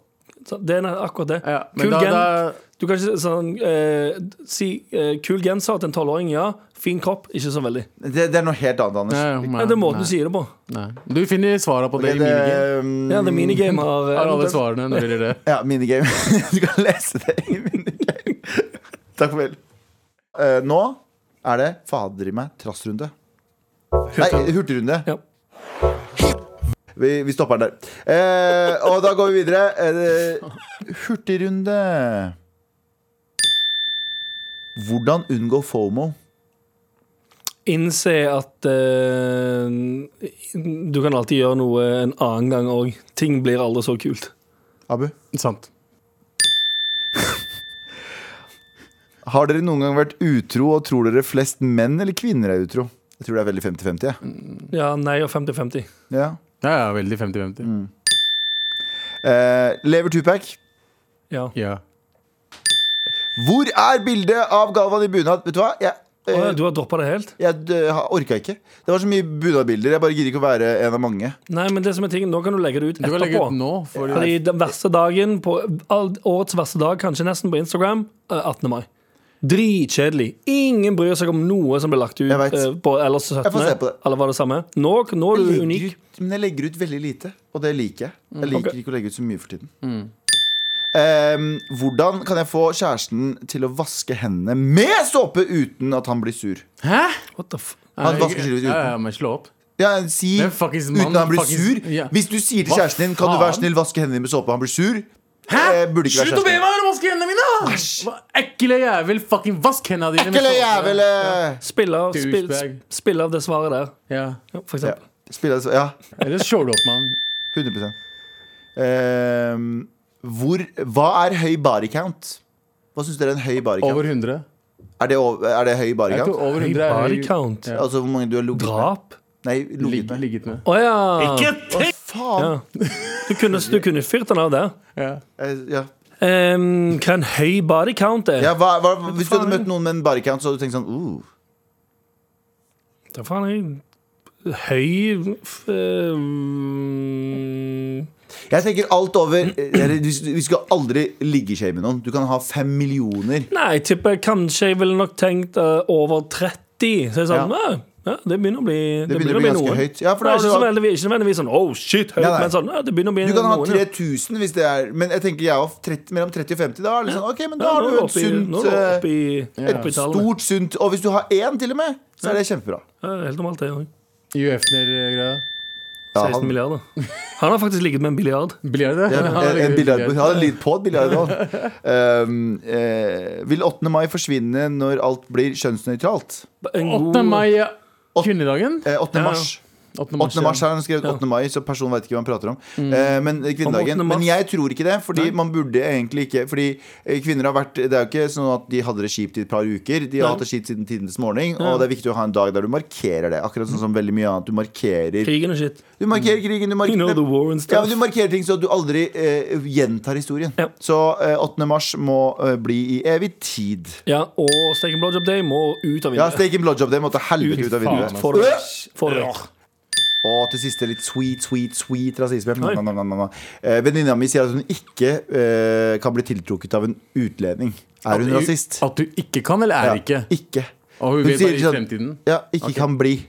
Speaker 2: Så Det er akkurat det.
Speaker 4: Ja, men
Speaker 2: Kul
Speaker 4: da-
Speaker 2: gen-
Speaker 4: da-
Speaker 2: Du kan ikke si sånn eh, Si eh, 'kul genser' til en tolvåring, ja. Fin kropp, ikke så veldig.
Speaker 3: Det, det er noe helt annet, Anders.
Speaker 4: Nei,
Speaker 2: Ja, det er måten
Speaker 4: nei,
Speaker 2: du sier det på.
Speaker 4: nei. Du finner svarene på det i
Speaker 3: Det-
Speaker 4: minigame.
Speaker 3: um,
Speaker 2: Ja, det eh, minigame har
Speaker 4: Mm. Har alle svarene når det gjelder det.
Speaker 3: Ja, minigame. Du kan lese det i minigame. Takk for vel. Eh, nå er det fader i meg trassrunde. Nei, hurtigrunde.
Speaker 2: Ja.
Speaker 3: Vi, vi stopper den der. Eh, og da går vi videre. Eh, hurtigrunde. Hvordan unngå fomo?
Speaker 2: Innse at eh, du kan alltid gjøre noe en annen gang òg. Ting blir aldri så kult.
Speaker 3: Abu?
Speaker 4: Sant.
Speaker 3: Har dere noen gang vært utro, og tror dere flest menn eller kvinner er utro? Jeg tror det er veldig 50-50. jeg.
Speaker 2: Ja, nei og 50-50.
Speaker 3: Ja.
Speaker 4: Ja, ja, veldig 50-50.
Speaker 3: Mm. Eh, lever tupac?
Speaker 2: Ja.
Speaker 4: Ja.
Speaker 3: Hvor er bildet av Galvan i bunad? Vet du hva? Jeg,
Speaker 2: Å,
Speaker 3: eh,
Speaker 2: ja, du har droppa det helt?
Speaker 3: jeg eh, har- orka ikke. Det var så mye bunadbilder. Jeg bare gidder ikke å være en av mange.
Speaker 2: Nei, men det som er tingen, nå kan du legge det ut
Speaker 4: Du kan legge
Speaker 2: etterpå.
Speaker 4: ut nå. Fordi
Speaker 2: Fordi den verste dagen på all, Årets verste dag, kanskje nesten på Instagram, er 18. mai. Dritkjedelig. Ingen bryr seg om noe som blir lagt ut
Speaker 3: Jeg vet.
Speaker 2: eh, på ellers
Speaker 3: Jeg får se
Speaker 2: 17.
Speaker 3: på det.
Speaker 2: Alle var det samme. Nå, nå er du
Speaker 3: Jeg legger
Speaker 2: unik.
Speaker 3: ut, men jeg legger ut veldig lite, og det liker jeg.
Speaker 4: Mm.
Speaker 3: Jeg liker
Speaker 2: Ok.
Speaker 3: ikke å legge ut så mye for tiden. Ehm, hvordan kan jeg få kjæresten til å vaske hendene med såpe uten at han blir sur?
Speaker 4: Hæ?
Speaker 2: What the f...
Speaker 3: Han vasker seg litt
Speaker 4: Ja,
Speaker 3: uten.
Speaker 4: ja, men slå opp.
Speaker 3: Ja, si
Speaker 4: Men fuckings mann,
Speaker 3: uten at han blir
Speaker 4: fuckings-
Speaker 3: sur.
Speaker 4: ja.
Speaker 3: Hvis du sier til
Speaker 4: Hva
Speaker 3: kjæresten din Kan du være
Speaker 4: faen?
Speaker 3: snill vaske hendene dine med såpe, han blir sur. Eh, Burde ikke være
Speaker 4: Slutt å be
Speaker 3: kjæresten.
Speaker 4: meg om å vaske hendene mine! da! Hva- Ekle jævel. Fucking vask hendene dine. med
Speaker 3: Ekle
Speaker 4: såpe.
Speaker 3: jævel! eh.
Speaker 2: Spill av, spill,
Speaker 4: Douchebag.
Speaker 2: spill av det svaret der,
Speaker 4: Ja.
Speaker 2: ja, for
Speaker 3: Ja.
Speaker 2: eksempel.
Speaker 3: Spiller, altså- ja.
Speaker 4: Eller short opp, mann.
Speaker 3: 100 Ehm, hvor, Hva er høy body count? Hva syns dere er en høy body count?
Speaker 4: Over 100.
Speaker 3: Er, det, over- er det høy body
Speaker 4: Jeg
Speaker 3: count?
Speaker 4: tror over
Speaker 2: Høy
Speaker 4: 100 er
Speaker 2: body
Speaker 4: høy-
Speaker 2: count.
Speaker 4: Ja.
Speaker 3: Altså hvor mange du har ligget med?
Speaker 2: Drap?
Speaker 3: Nei, ligget
Speaker 4: Ligg-
Speaker 3: med.
Speaker 4: Ligget med.
Speaker 2: Å ja!
Speaker 3: Faen!
Speaker 2: Ja. Du kunne, du kunne fyrt den av der.
Speaker 4: Ja.
Speaker 3: Eh, ja.
Speaker 2: Ehm, hva en høy body count er?
Speaker 3: Ja, hva, hva, hvis du hadde
Speaker 2: faen?
Speaker 3: møtt noen med en body count, så hadde du tenkt sånn uh,
Speaker 2: Da faen jeg Høy f, ehm,
Speaker 3: Jeg tenker alt over eh, eller, du- Vi skal aldri ligge med noen. Du kan ha fem millioner.
Speaker 2: Nei, jeg tipper jeg kanskje jeg ville nok tenkt eh, over 30. Så jeg sa
Speaker 3: Ja.
Speaker 2: ja. Ja, det begynner å bli Det,
Speaker 3: begynner å bli ganske høyt. Ja,
Speaker 2: Ja,
Speaker 3: for
Speaker 2: for det er
Speaker 3: da har
Speaker 2: ikke, så
Speaker 3: du hatt-
Speaker 2: nødvendigvis, ikke nødvendigvis sånn oh shit, høyt,
Speaker 3: Nei, nei.
Speaker 2: men sånn ja, det begynner å bli
Speaker 3: Du kan ha
Speaker 2: noen, ja.
Speaker 3: 3000 hvis det er Men jeg tenker jeg er off- 30, mellom 30 og 50. Da er det sånn, ok, men da
Speaker 2: Ja,
Speaker 3: har
Speaker 2: nå
Speaker 3: du
Speaker 2: er
Speaker 3: et
Speaker 2: oppe i- nå er
Speaker 3: sunt
Speaker 2: du
Speaker 3: eh,
Speaker 2: oppe i-
Speaker 3: Et
Speaker 2: oppe i tallene.
Speaker 3: stort, sunt Og hvis du har én, til og med, så er det kjempebra.
Speaker 2: Ja, Helt normalt, det. ja.
Speaker 4: UF-greia.
Speaker 3: Ja,
Speaker 2: 16
Speaker 3: han,
Speaker 2: milliarder. Han har faktisk ligget med en billiard.
Speaker 4: Biljard, det?
Speaker 3: ja,
Speaker 4: Ja,
Speaker 3: en, en
Speaker 4: ligget med
Speaker 3: biljardbord.
Speaker 4: biljard.
Speaker 3: Han hadde lidd på et biljardbord. Um, eh, vil 8. mai forsvinne når alt blir kjønnsnøytralt?
Speaker 2: En
Speaker 4: 8. mai ja. Kvinnedagen?
Speaker 3: Eh, 8.
Speaker 2: Ja, ja.
Speaker 3: mars.
Speaker 4: 8.
Speaker 3: 8. mars
Speaker 4: ja.
Speaker 3: har han skrevet 8. mai, så personen vet ikke hva han prater om. Eh, men kvinnedagen.
Speaker 2: Om 8. mars.
Speaker 3: Men jeg tror ikke det, fordi man burde egentlig ikke Fordi eh, kvinner har vært Det er jo ikke sånn at de hadde det kjipt i et par uker. De har hatt det kjipt siden tidenes morgen, og det er viktig å ha en dag der du markerer det. Akkurat sånn som veldig mye annet. Du markerer
Speaker 2: Krigen og shit.
Speaker 3: Du markerer krigen, du markerer
Speaker 2: You know the war and
Speaker 3: Ja,
Speaker 2: stuff.
Speaker 3: men Du markerer ting så du aldri eh, gjentar historien.
Speaker 2: Ja.
Speaker 3: Så eh, 8. mars må eh, bli i evig tid.
Speaker 2: Ja, og Steak and Blowjob Day må ut av
Speaker 3: Ja,
Speaker 2: vinduet.
Speaker 3: Steak and blowjob, det måtte helvete ut av vinduet.
Speaker 2: Få det vekk. Få det vekk.
Speaker 3: Og til siste litt sweet, sweet, sweet rasisme. Na, na, na, na, na. Eh, Venninna mi sier at hun ikke eh, kan bli tiltrukket av en utlending. Er hun
Speaker 4: Du-
Speaker 3: rasist?
Speaker 4: At du ikke kan, eller er
Speaker 3: Ja,
Speaker 4: ikke?
Speaker 3: Ikke.
Speaker 4: Og hun vet
Speaker 3: sier
Speaker 4: bare i
Speaker 3: ikke sånn-
Speaker 4: fremtiden.
Speaker 3: Ja, ikke kan bli.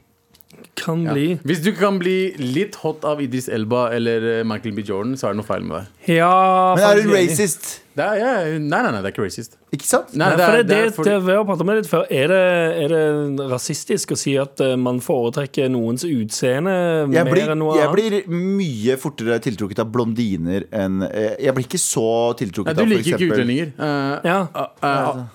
Speaker 2: Kan
Speaker 4: Ja.
Speaker 2: bli.
Speaker 4: Hvis du ikke kan bli litt hot av Idris Elba eller eh, Michael B. Jordan, så er det noe feil med deg.
Speaker 2: Ja
Speaker 3: Men er hun
Speaker 2: faktisk enig.
Speaker 3: racist?
Speaker 4: Det er, ja, nei, nei, nei, det er ikke racist.
Speaker 3: Ikke sant?
Speaker 4: Nei,
Speaker 2: Nei,
Speaker 4: det
Speaker 2: for
Speaker 4: er,
Speaker 2: det, det,
Speaker 4: for-
Speaker 2: det, vi har pratet om det litt før. Er det, er det rasistisk å si at eh, man foretrekker noens utseende
Speaker 3: Jeg
Speaker 2: mer
Speaker 3: blir,
Speaker 2: enn noe
Speaker 3: jeg
Speaker 2: annet?
Speaker 3: blir mye fortere tiltrukket av blondiner enn eh, Jeg blir ikke så tiltrukket
Speaker 4: Nei, du
Speaker 3: av
Speaker 4: liker ikke
Speaker 3: f.eks.
Speaker 4: utlendinger. Eh,
Speaker 2: Ja.
Speaker 4: eh, eh,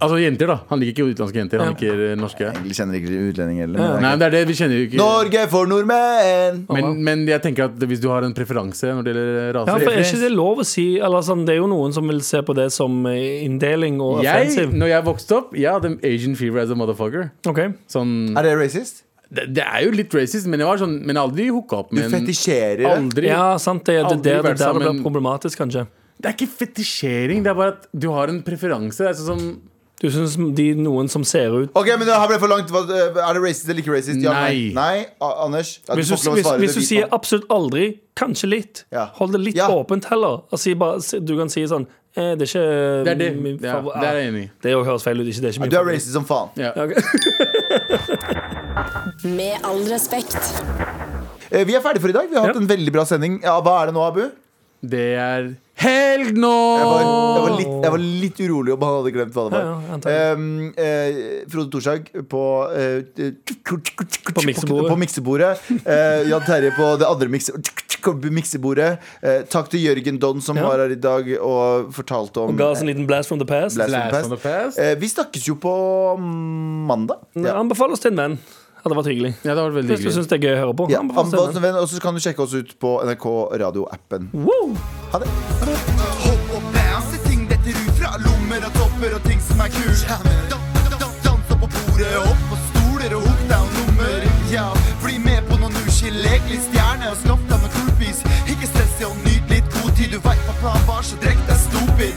Speaker 4: altså jenter, da. Han liker ikke utenlandske jenter. Han
Speaker 2: Ja.
Speaker 4: liker eh, norske.
Speaker 3: Jeg kjenner ikke utlendinger heller. men det er
Speaker 4: Nei, men det er det. Vi kjenner jo
Speaker 3: ikke-
Speaker 4: ikke
Speaker 3: Norge for nordmenn!
Speaker 4: men, men jeg tenker at hvis du har en preferanse når det gjelder eh,
Speaker 2: Ja,
Speaker 4: raser
Speaker 2: for er ikke det lov å si eller sånn, Det er jo noen som vil se på det som eh, inndeling og
Speaker 4: jeg,
Speaker 2: offensive.
Speaker 4: Når jeg vokste opp, jeg hadde Asian fever as a motherfucker.
Speaker 2: Ok,
Speaker 4: Sånn,
Speaker 3: Er det racist?
Speaker 4: det, det er jo litt racist, men jeg var sånn Men jeg har aldri hooka opp
Speaker 3: Du
Speaker 4: med en-
Speaker 3: fetisjerer det.
Speaker 4: Aldri.
Speaker 2: Ja, sant. Det, det,
Speaker 4: Aldri
Speaker 2: det, det
Speaker 4: vært
Speaker 2: der det blir
Speaker 4: sammen.
Speaker 2: problematisk, kanskje.
Speaker 4: Det er ikke fetisjering, det er bare at du har en preferanse. Det er sånn som
Speaker 2: Du syns de noen som ser ut
Speaker 3: Ok, men det her ble for langt. Hva- eh, Er det racist eller ikke racist? Ja, nei.
Speaker 4: Nei.
Speaker 3: nei. A- Anders? Ja,
Speaker 2: Hvis du,
Speaker 3: får ikke lov å
Speaker 2: hvis,
Speaker 3: svare,
Speaker 2: hvis
Speaker 3: det
Speaker 2: du
Speaker 3: er hvit
Speaker 2: sier
Speaker 3: mann.
Speaker 2: absolutt aldri, kanskje litt,
Speaker 3: Ja.
Speaker 2: hold det litt
Speaker 3: Ja.
Speaker 2: åpent heller. Og si bare, si- du kan si sånn eh, Det er ikke
Speaker 4: Det er det.
Speaker 2: min
Speaker 4: Ja,
Speaker 2: favor-
Speaker 4: det er jeg enig i.
Speaker 2: Det jo høres feil ut. Ikke, det er ikke min
Speaker 3: Du er
Speaker 2: favor-
Speaker 3: racist som faen.
Speaker 4: Ja.
Speaker 1: Med all respekt.
Speaker 3: Eh, Vi er ferdige for i dag. Vi har hatt
Speaker 2: Ja.
Speaker 3: en veldig bra sending. Ja, Hva er det nå, Abu? Jeg
Speaker 4: Det er helg nå!
Speaker 3: var, jeg var, litt, jeg var litt urolig om han hadde glemt hva det var.
Speaker 2: Ja, ja, antagelig.
Speaker 3: Um, eh, Frode Torshaug på eh, På
Speaker 2: miksebordet.
Speaker 3: På miksebordet. Eh, Jan Terje på det andre mikse- miksebordet. Eh, takk til Jørgen Don som
Speaker 2: Ja.
Speaker 3: var her i dag og fortalte om
Speaker 2: Ga oss en liten blast from the past.
Speaker 3: Blast from the
Speaker 4: Blast from
Speaker 3: past.
Speaker 4: the past.
Speaker 3: Eh, Vi snakkes jo på mandag.
Speaker 2: Ja. Anbefal oss til en venn. Hadde vært hyggelig.
Speaker 4: Ja, det har vært veldig
Speaker 2: Hvis du
Speaker 4: hyggelig.
Speaker 2: syns det er gøy å høre på.
Speaker 3: Ja,
Speaker 2: Anbefal oss til en venn.
Speaker 3: anbefales en venn, og så kan du sjekke oss ut på NRK radioappen.
Speaker 2: Wow.
Speaker 3: Ha det.
Speaker 6: Hopp og bounce, ting detter ut fra lommer og topper og ting som er kult. Dan- dan- dan- Dans opp på bordet, opp på stoler og hook down nummer. Ja, bli med på noen uskill, lek litt stjerne og skaff deg noen coolpies. Ikke stress i og nyt litt god tid, du veit hva planen var, så drekk deg stupid.